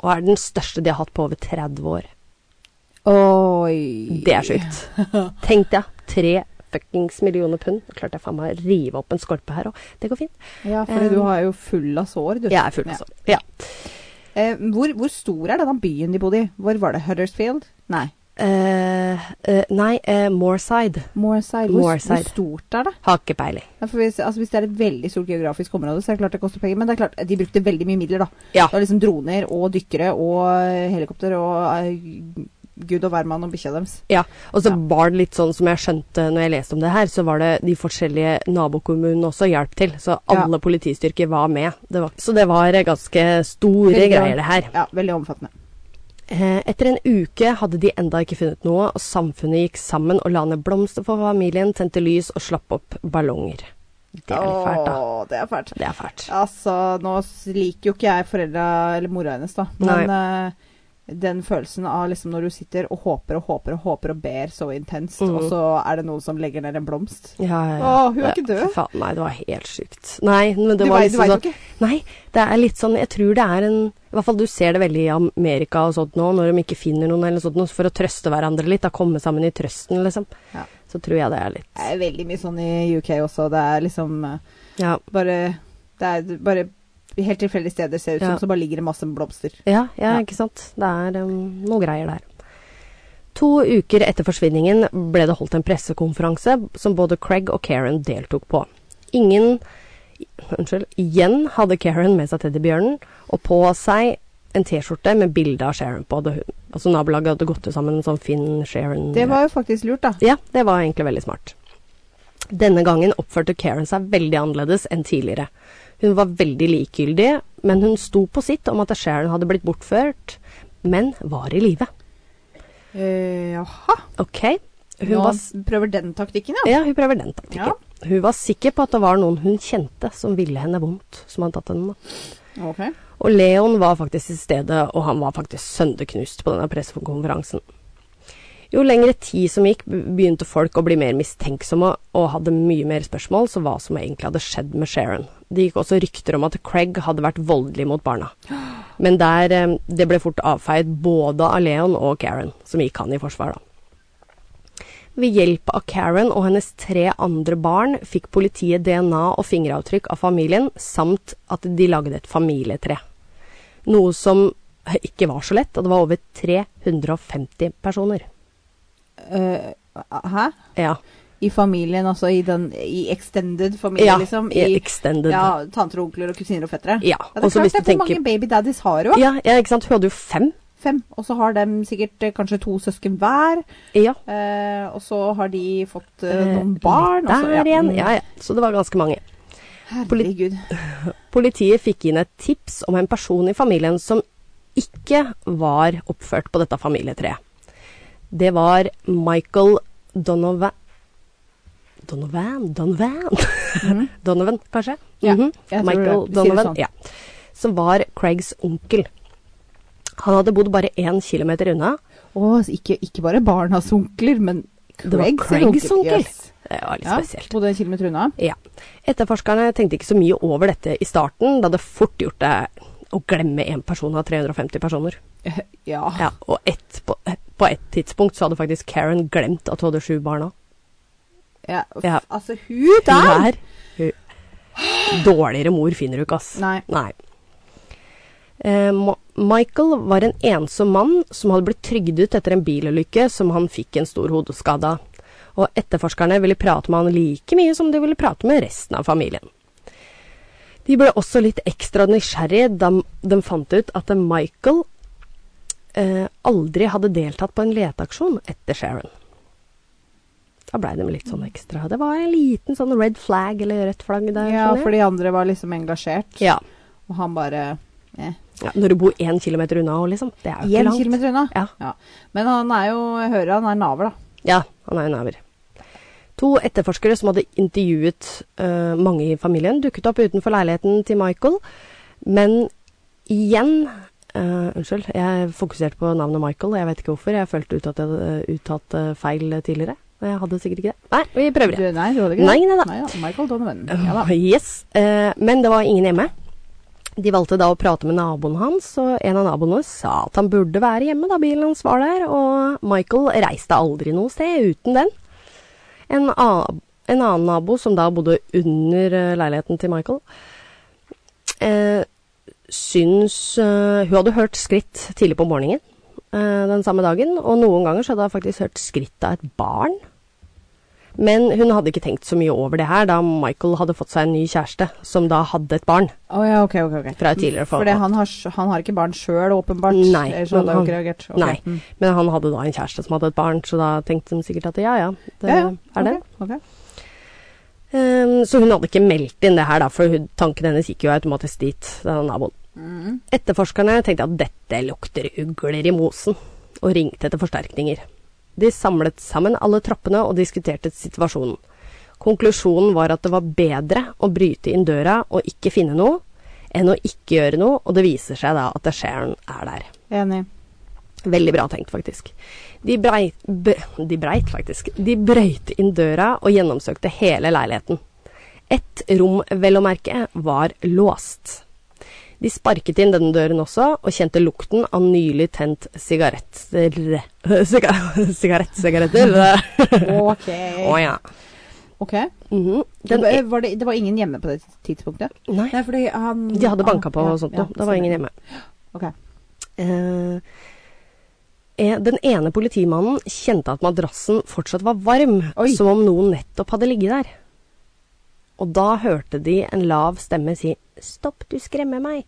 Speaker 1: Og er den største de har hatt på over 30 år.
Speaker 2: Oi.
Speaker 1: Det er sjukt. Tenk deg, 3 fuckings millioner pund. Klarte jeg faen meg å rive opp en skorpe her òg. Det går fint.
Speaker 2: Ja, for du har jo Eh. full av sår, du.
Speaker 1: Jeg er full av sorg. Ja.
Speaker 2: Eh, hvor, hvor stor er denne byen de bodde i? Hvor var det? Huddersfield? Nei.
Speaker 1: Eh, eh, nei, eh, Moorside.
Speaker 2: Moorside. Hvor,
Speaker 1: Moorside.
Speaker 2: hvor stort er det?
Speaker 1: Har ikke peiling.
Speaker 2: Ja, for hvis, altså hvis det er et veldig stort geografisk område, så er det klart det koster penger. Men det er klart, de brukte veldig mye midler, da.
Speaker 1: Ja.
Speaker 2: Det var liksom droner og dykkere og eh, helikopter og eh, gud og hvermann og bikkja deres.
Speaker 1: Ja, og så
Speaker 2: Ja.
Speaker 1: var det litt sånn som jeg skjønte når jeg leste om det her, så var det de forskjellige nabokommunene også hjalp til. Så alle politistyrker var med. Det var, så det var eh, ganske store
Speaker 2: Veldig bra.
Speaker 1: greier, det her.
Speaker 2: Ja, veldig omfattende.
Speaker 1: Eh, Etter en uke hadde de enda ikke funnet noe, og samfunnet gikk sammen og la ned blomster for familien, tente lys og slapp opp ballonger. Det er litt fælt, da.
Speaker 2: Åh, det er fælt.
Speaker 1: Det er fælt.
Speaker 2: Altså, nå s- liker jo ikke jeg foreldra eller mora hennes, da. Men eh, den følelsen av liksom når du sitter og håper og håper og håper og ber så intenst,
Speaker 1: Mhm.
Speaker 2: og så er det noen som legger ned en blomst.
Speaker 1: Ja, ja, ja.
Speaker 2: Åh, hun er ikke død.
Speaker 1: Faen, nei, det var helt sjukt. Nei, men det
Speaker 2: du
Speaker 1: var
Speaker 2: veit
Speaker 1: liksom
Speaker 2: jo
Speaker 1: sånn
Speaker 2: ikke.
Speaker 1: Nei, det er litt sånn Jeg tror det er en I hvert fall du ser det veldig i Amerika og sånt nå, når de ikke finner noen eller sånt, nå, for å trøste hverandre litt. Da komme sammen i trøsten, liksom.
Speaker 2: Ja.
Speaker 1: Så tror jeg det er litt
Speaker 2: Det er veldig mye sånn i UK også. Det er liksom eh,
Speaker 1: Ja,
Speaker 2: bare Det er bare helt tilfeldige steder ser det ut
Speaker 1: Ja.
Speaker 2: som, så bare ligger det masse blomster.
Speaker 1: ja, ja
Speaker 2: Ja.
Speaker 1: ikke sant. Det er um, noe greier der. To uker etter forsvinningen ble det holdt en pressekonferanse som både Craig og Karen deltok på. Ingen Unnskyld. Igjen hadde Karen med seg teddybjørnen og på seg en T-skjorte med bilde av Sharon på. Det, altså nabolaget hadde gått ut sammen sånn Finn, Sharon
Speaker 2: Det var jo faktisk lurt, da.
Speaker 1: Ja, det var egentlig veldig smart. Denne gangen oppførte Karen seg veldig annerledes enn tidligere. Hun var veldig likegyldig, men hun sto på sitt om at Sharon hadde blitt bortført, men var i live.
Speaker 2: Eh, jaha.
Speaker 1: Ok, hun
Speaker 2: Nå
Speaker 1: var, s-
Speaker 2: prøver den taktikken, ja.
Speaker 1: ja, hun prøver den taktikken.
Speaker 2: Ja.
Speaker 1: Hun var sikker på at det var noen hun kjente som ville henne vondt, som hadde tatt henne. da.
Speaker 2: Ok.
Speaker 1: Og Leon var faktisk til stede, og han var faktisk sønderknust på denne pressekonferansen. Jo lengre tid som gikk, be- begynte folk å bli mer mistenksomme og hadde mye mer spørsmål så hva som egentlig hadde skjedd med Sharon. Det gikk også rykter om at Craig hadde vært voldelig mot barna. Men der, eh, det ble fort avfeid både av Leon og Karen, som gikk han i forsvar, da. Ved hjelp av Karen og hennes tre andre barn fikk politiet DNA og fingeravtrykk av familien, samt at de lagde et familietre. Noe som ikke var så lett, og det var over 350 personer.
Speaker 2: Eh, hæ?
Speaker 1: Ja,
Speaker 2: I familien, altså i den i extended familie,
Speaker 1: ja
Speaker 2: liksom?
Speaker 1: i
Speaker 2: I
Speaker 1: extended. Ja,
Speaker 2: ja, tanter og onkler og kusiner og fettere? Ja, det er
Speaker 1: Og så
Speaker 2: klart
Speaker 1: hvis
Speaker 2: det
Speaker 1: du
Speaker 2: er hvor mange
Speaker 1: tenker
Speaker 2: baby daddies har du? da?
Speaker 1: ja, ja, ikke sant. Hun hadde jo fem.
Speaker 2: Fem. Og så har de sikkert eh, kanskje to søsken hver.
Speaker 1: Ja.
Speaker 2: Eh, og så har de fått eh,
Speaker 1: Eh,
Speaker 2: noen barn. og så-
Speaker 1: Der igjen.
Speaker 2: mm,
Speaker 1: Ja, ja. Så det var ganske mange.
Speaker 2: Herregud.
Speaker 1: Politiet fikk inn et tips om en person i familien som ikke var oppført på dette familietreet. Det var Michael Donovan Donovan? Donovan?
Speaker 2: Mhm.
Speaker 1: Donovan, kanskje?
Speaker 2: Ja,
Speaker 1: Mhm.
Speaker 2: jeg tror det.
Speaker 1: Michael
Speaker 2: Vi sier det
Speaker 1: Donovan,
Speaker 2: sånn.
Speaker 1: ja. Som var Craigs onkel. Han hadde bodd bare én kilometer unna.
Speaker 2: Å, så ikke, ikke bare barnas onkler, men
Speaker 1: Det var
Speaker 2: Craigs
Speaker 1: Craigs onkel.
Speaker 2: Yes.
Speaker 1: Det var litt
Speaker 2: Ja,
Speaker 1: spesielt.
Speaker 2: bodde en kilometer unna.
Speaker 1: Ja. Etterforskerne tenkte ikke så mye over dette i starten, da det fort gjort det å glemme én person av 350 personer.
Speaker 2: Ja.
Speaker 1: Ja, og ett på, på ett tidspunkt så hadde faktisk Karen glemt at hun hadde sju barn òg.
Speaker 2: ja. uff,
Speaker 1: Ja.
Speaker 2: Altså, hun der!
Speaker 1: Dårligere mor finner du ikke, ass.
Speaker 2: Nei.
Speaker 1: Eh, Ma- Michael var en ensom mann som hadde blitt trygdet etter en bilulykke som han fikk en stor hodeskade av. Og etterforskerne ville prate med han like mye som de ville prate med resten av familien. De ble også litt ekstra nysgjerrige da m- de fant ut at Michael eh, aldri hadde deltatt på en leteaksjon etter Sharon. Da blei de litt sånn ekstra. Det var en liten sånn red flag eller rødt flagg der.
Speaker 2: Ja,
Speaker 1: skjønner jeg.
Speaker 2: for de andre var liksom engasjert,
Speaker 1: ja.
Speaker 2: og han bare eh.
Speaker 1: ja. Når du bor én kilometer unna òg, liksom. Det er jo ikke
Speaker 2: En
Speaker 1: langt.
Speaker 2: kilometer unna.
Speaker 1: Ja.
Speaker 2: Men han er jo Jeg hører han er naver, da.
Speaker 1: Ja, han er en naver. To etterforskere som hadde intervjuet eh, mange i familien, dukket opp utenfor leiligheten til Michael. Men igjen eh, Unnskyld, jeg fokuserte på navnet Michael. Jeg vet ikke hvorfor. Jeg følte ut at jeg hadde eh, uttalt eh, feil tidligere. Men Jeg hadde sikkert ikke det. Nei, vi prøver igjen.
Speaker 2: Du, nei, du hadde ikke det?
Speaker 1: Nei, nei da.
Speaker 2: da. Michael Donovan. Ja da.
Speaker 1: Yes. Eh, men det var ingen hjemme. De valgte da å prate med naboen hans, og en av naboene sa at han burde være hjemme da bilen hans var der, og Michael reiste aldri noe sted uten den. En, a- en annen nabo, som da bodde under eh, leiligheten til Michael, eh, syns eh, Hun hadde hørt skritt tidlig på morgenen eh, den samme dagen, og noen ganger så hadde hun faktisk hørt skritt av et barn. Men hun hadde ikke tenkt så mye over det her da Michael hadde fått seg en ny kjæreste, som da hadde et barn
Speaker 2: Å ja, ok, ok. ok.
Speaker 1: fra et tidligere
Speaker 2: For det,
Speaker 1: forhold.
Speaker 2: han, har, s- han har ikke barn sjøl, åpenbart.
Speaker 1: Nei,
Speaker 2: Ellers hadde
Speaker 1: men
Speaker 2: han jo ikke reagert. Ok.
Speaker 1: Nei.
Speaker 2: Mm.
Speaker 1: Men han hadde da en kjæreste som hadde et barn, så da tenkte hun sikkert at ja, ja, det
Speaker 2: Ja, ja.
Speaker 1: er det.
Speaker 2: Ok, ok.
Speaker 1: Ehm, så hun hadde ikke meldt inn det her, da, for hun, tanken hennes gikk jo automatisk dit, den naboen.
Speaker 2: Mm.
Speaker 1: Etterforskerne tenkte at dette lukter ugler i mosen, og ringte etter forsterkninger. De samlet sammen alle troppene og diskuterte situasjonen. Konklusjonen var at det var bedre å bryte inn døra og ikke finne noe, enn å ikke gjøre noe, og det viser seg da at skjæren er der.
Speaker 2: Enig.
Speaker 1: Veldig bra tenkt, faktisk. De breit, be, de breit faktisk. De brøyt inn døra og gjennomsøkte hele leiligheten. Ett rom, vel å merke, var låst. De sparket inn denne døren også, og kjente lukten av nylig tent sigaretter Siga- Sigarett, sigaretter?
Speaker 2: Ok.
Speaker 1: Å ja.
Speaker 2: Ok.
Speaker 1: Mhm. Den,
Speaker 2: det, eh, var det, det var ingen hjemme på det tidspunktet?
Speaker 1: nei,
Speaker 2: Nei, fordi han
Speaker 1: de hadde banka på
Speaker 2: Ja,
Speaker 1: og sånt
Speaker 2: ja, sånn
Speaker 1: noe. Det var ingen hjemme.
Speaker 2: Ok.
Speaker 1: Eh, eh, den ene politimannen kjente at madrassen fortsatt var varm,
Speaker 2: Oi.
Speaker 1: som om noen nettopp hadde ligget der. Og da hørte de en lav stemme si 'Stopp, du skremmer meg'.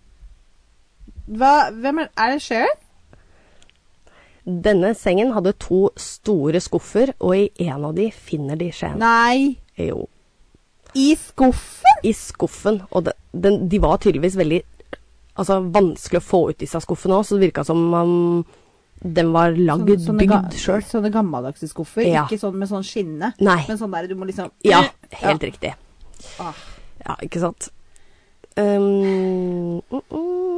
Speaker 2: Hva, hvem er, er det Sharon?
Speaker 1: Denne sengen hadde to store skuffer, og i en av de finner de Shane.
Speaker 2: Nei,
Speaker 1: Jo,
Speaker 2: i skuffen?
Speaker 1: i skuffen. Og de, den, de var tydeligvis veldig altså, vanskelig å få ut disse skuffene òg, så det virka som om den var lagd,
Speaker 2: ga-
Speaker 1: bygd sjøl.
Speaker 2: Sånn- sånne gammeldagse skuffer.
Speaker 1: Ja.
Speaker 2: Ikke sånn med sånn skinne,
Speaker 1: Nei.
Speaker 2: men sånn der du må liksom
Speaker 1: Ja, helt riktig.
Speaker 2: Ah.
Speaker 1: Ja, ikke sant. Ehm, mm, mm.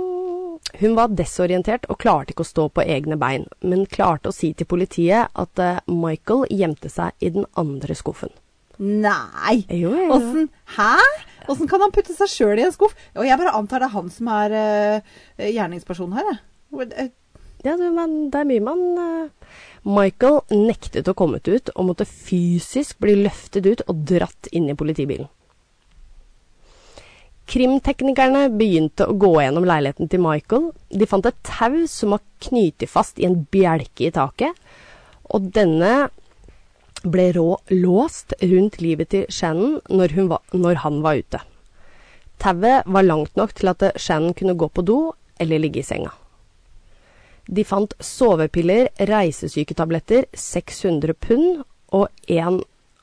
Speaker 1: Hun var desorientert og klarte ikke å stå på egne bein, men klarte å si til politiet at eh, Michael gjemte seg i den andre skuffen.
Speaker 2: Nei!
Speaker 1: Jo, jo, jo.
Speaker 2: Åssen Hæ? Åssen kan han putte seg sjøl i en skuff? Og jeg bare antar det er han som er eh, gjerningspersonen her, jeg. Hvor- eh,
Speaker 1: Ja, du, men det er mye man eh. Michael nektet å komme ut og måtte fysisk bli løftet ut og dratt inn i politibilen. Krimteknikerne begynte å gå gjennom leiligheten til Michael. De fant et tau som var knyttet fast i en bjelke i taket, og denne ble rå låst rundt livet til Shannon når, hun var, når han var ute. Tauet var langt nok til at eh, Shannon kunne gå på do eller ligge i senga. De fant sovepiller, reisesyketabletter, 600 pund og en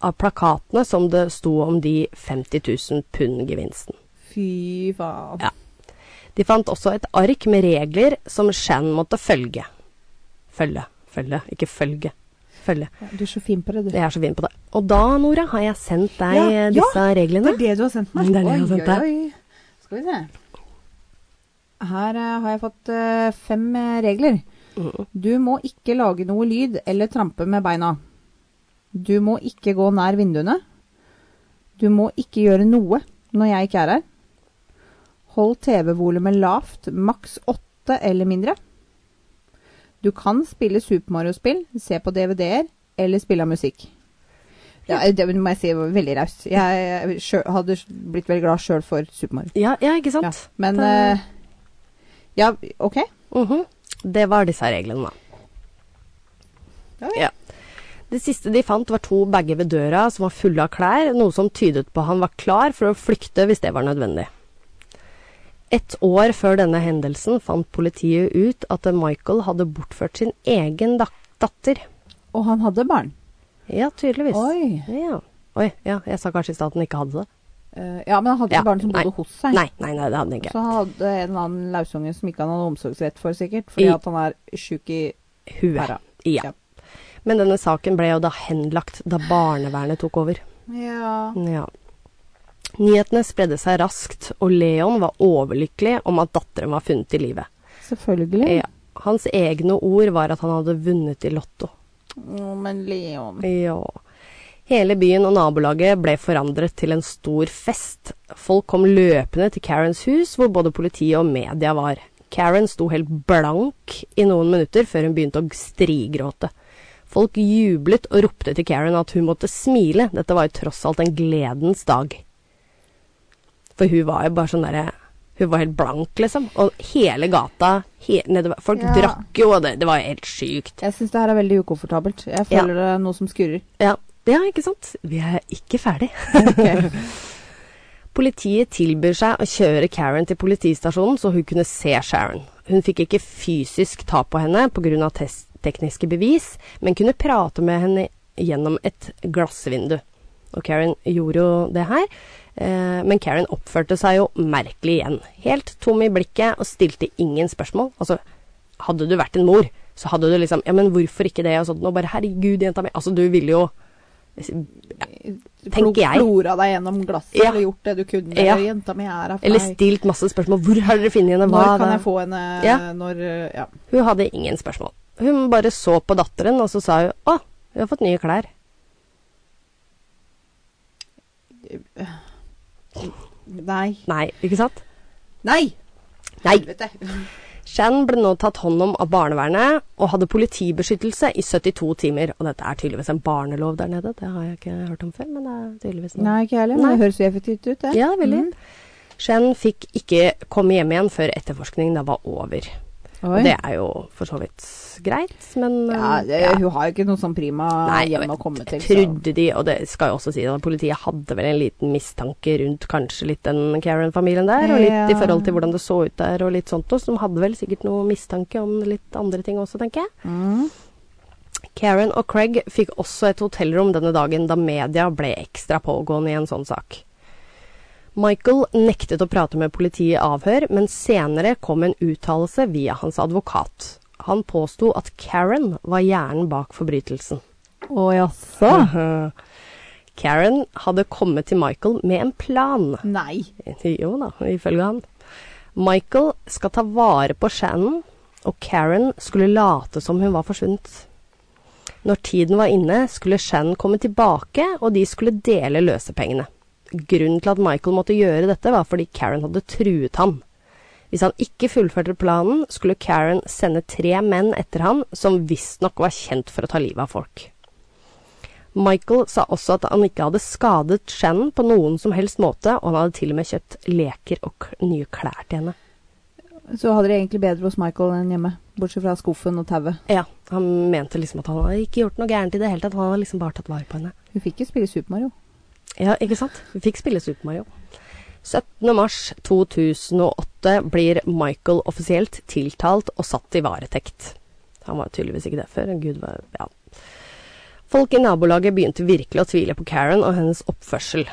Speaker 1: av plakatene som det sto om de 50 000 pund-gevinsten.
Speaker 2: Fy faen.
Speaker 1: Ja. De fant også et ark med regler som Shan måtte følge. Følge, følge, ikke følge. Følge.
Speaker 2: Du er så fin på det, du.
Speaker 1: Jeg er så fin på det. Og da, Nora, har jeg sendt deg
Speaker 2: Ja,
Speaker 1: eh,
Speaker 2: ja,
Speaker 1: disse
Speaker 2: Det
Speaker 1: reglene.
Speaker 2: er det du har sendt meg?
Speaker 1: Det er det jeg har sendt deg.
Speaker 2: Oi, oi, oi. Skal vi se. Her eh, har jeg fått eh, fem eh, regler.
Speaker 1: Mhm.
Speaker 2: Du må ikke lage noe lyd eller trampe med beina. Du må ikke gå nær vinduene. Du må ikke gjøre noe når jeg ikke er her. Hold TV-volumet lavt, maks åtte eller mindre. Du kan spille Super Mario-spill, se på DVD-er eller spille av musikk. Ja, det må jeg si var veldig raust. Jeg, jeg sjø- hadde blitt veldig glad sjøl for Super Mario.
Speaker 1: Ja, ja, ikke
Speaker 2: Ja,
Speaker 1: sant?
Speaker 2: men
Speaker 1: Det-
Speaker 2: eh, Ja, OK.
Speaker 1: Mhm. Det var disse reglene, da.
Speaker 2: Ja,
Speaker 1: Ja. Det siste de fant, var to bager ved døra som var fulle av klær, noe som tydet på han var klar for å flykte hvis det var nødvendig. Et år før denne hendelsen fant politiet ut at Michael hadde bortført sin egen dak- datter.
Speaker 2: Og han hadde barn.
Speaker 1: Ja, tydeligvis.
Speaker 2: Oi.
Speaker 1: Ja. Oi, ja, jeg sa kanskje i stad at den ikke hadde det.
Speaker 2: Eh, ja, men han hadde ikke
Speaker 1: Ja,
Speaker 2: barn som bodde
Speaker 1: nei.
Speaker 2: hos seg.
Speaker 1: Nei, nei, nei det hadde den ikke.
Speaker 2: Så han hadde en eller annen lausunge som ikke han hadde omsorgsrett for, sikkert. Fordi
Speaker 1: I-
Speaker 2: at han er sjuk i
Speaker 1: Huet.
Speaker 2: pæra.
Speaker 1: Ja. Men denne saken ble jo da henlagt da barnevernet tok over.
Speaker 2: ja.
Speaker 1: Ja. Nyhetene spredde seg raskt, og Leon var overlykkelig om at datteren var funnet i live.
Speaker 2: Selvfølgelig.
Speaker 1: Ja. Hans egne ord var at han hadde vunnet i Lotto.
Speaker 2: Å, men Leon
Speaker 1: Ja. Hele byen og nabolaget ble forandret til en stor fest. Folk kom løpende til Karens hus, hvor både politi og media var. Karen sto helt blank i noen minutter før hun begynte å strigråte. Folk jublet og ropte til Karen at hun måtte smile, dette var jo tross alt en gledens dag. For hun var jo bare sånn derre Hun var helt blank, liksom. Og hele gata he, nedover Folk
Speaker 2: Ja.
Speaker 1: drakk jo, og det, det var jo helt sykt.
Speaker 2: Jeg syns det her er veldig ukomfortabelt. Jeg føler det er noe som skurrer.
Speaker 1: Ja, ja, ikke sant? Vi er ikke ferdig. Politiet tilbyr seg å kjøre Karen til politistasjonen så hun kunne se Sharon. Hun fikk ikke fysisk tap på henne pga. tekniske bevis, men kunne prate med henne gjennom et glassvindu. Og Karen gjorde jo det her, eh, men Karen oppførte seg jo merkelig igjen. Helt tom i blikket og stilte ingen spørsmål. Altså, hadde du vært en mor, så hadde du liksom Ja, men hvorfor ikke det? Og sånn, og bare herregud, jenta mi. Altså, du ville jo Tenker jeg.
Speaker 2: Flora deg gjennom glasset
Speaker 1: Ja.
Speaker 2: eller gjort det du kunne.
Speaker 1: Ja.
Speaker 2: Eller jenta mi er her for
Speaker 1: Eller
Speaker 2: meg.
Speaker 1: stilt masse spørsmål. Hvor har dere funnet henne?
Speaker 2: Når
Speaker 1: Hva
Speaker 2: kan
Speaker 1: da?
Speaker 2: jeg få henne
Speaker 1: Ja.
Speaker 2: når eh, Ja.
Speaker 1: Hun hadde ingen spørsmål. Hun bare så på datteren, og så sa hun 'Å, hun har fått nye klær'.
Speaker 2: Nei.
Speaker 1: Nei, ikke sant?
Speaker 2: Nei!
Speaker 1: Nei.
Speaker 2: Helvete.
Speaker 1: Shan ble nå tatt hånd om av barnevernet og hadde politibeskyttelse i 72 timer. Og dette er tydeligvis en barnelov der nede, det har jeg ikke hørt om før, men det er tydeligvis noe.
Speaker 2: Nei, Mm. ikke jeg heller. Men
Speaker 1: Nei.
Speaker 2: det høres jo effektivt ut, det.
Speaker 1: Ja, veldig. Shan fikk ikke komme hjem igjen før etterforskningen da var over.
Speaker 2: Mm. Oi.
Speaker 1: Og det er jo for så vidt greit, men eh,
Speaker 2: ja, det,
Speaker 1: ja.
Speaker 2: Hun har jo ikke noe sånn prima
Speaker 1: Nei, jeg
Speaker 2: hjem å komme til. så-
Speaker 1: trodde de, og det skal jeg også si, at politiet hadde vel en liten mistanke rundt kanskje litt den Karen-familien der, og litt i
Speaker 2: Ja.
Speaker 1: forhold til hvordan det så ut der og litt sånt også. De hadde vel sikkert noe mistanke om litt andre ting også, tenker jeg.
Speaker 2: Mm.
Speaker 1: Karen og Craig fikk også et hotellrom denne dagen da media ble ekstra pågående i en sånn sak. Michael nektet å prate med politiet i avhør, men senere kom en uttalelse via hans advokat. Han påsto at Karen var hjernen bak forbrytelsen.
Speaker 2: Å jaså?
Speaker 1: Karen hadde kommet til Michael med en plan.
Speaker 2: Nei.
Speaker 1: Jo da, ifølge han. Michael skal ta vare på Shannon, og Karen skulle late som hun var forsvunnet. Når tiden var inne, skulle Shannon komme tilbake, og de skulle dele løsepengene. Grunnen til at Michael måtte gjøre dette, var fordi Karen hadde truet ham. Hvis han ikke fullførte planen, skulle Karen sende tre menn etter ham, som visstnok var kjent for å ta livet av folk. Michael sa også at han ikke hadde skadet Shannon på noen som helst måte, og han hadde til og med kjøpt leker og k nye klær til henne.
Speaker 2: Så hadde det egentlig bedre hos Michael enn hjemme. Bortsett fra skuffen og tauet.
Speaker 1: Ja, Han mente liksom at han hadde ikke gjort noe gærent i det hele tatt, han hadde liksom bare tatt vare på henne.
Speaker 2: Hun fikk jo spille Super Mario.
Speaker 1: Ja, ikke sant? Vi fikk spille Super Mario. 17. mars 2008 blir Michael offisielt tiltalt og satt i varetekt. Han var tydeligvis ikke det før. Gud var Ja. Folk i nabolaget begynte virkelig å tvile på Karen og hennes oppførsel.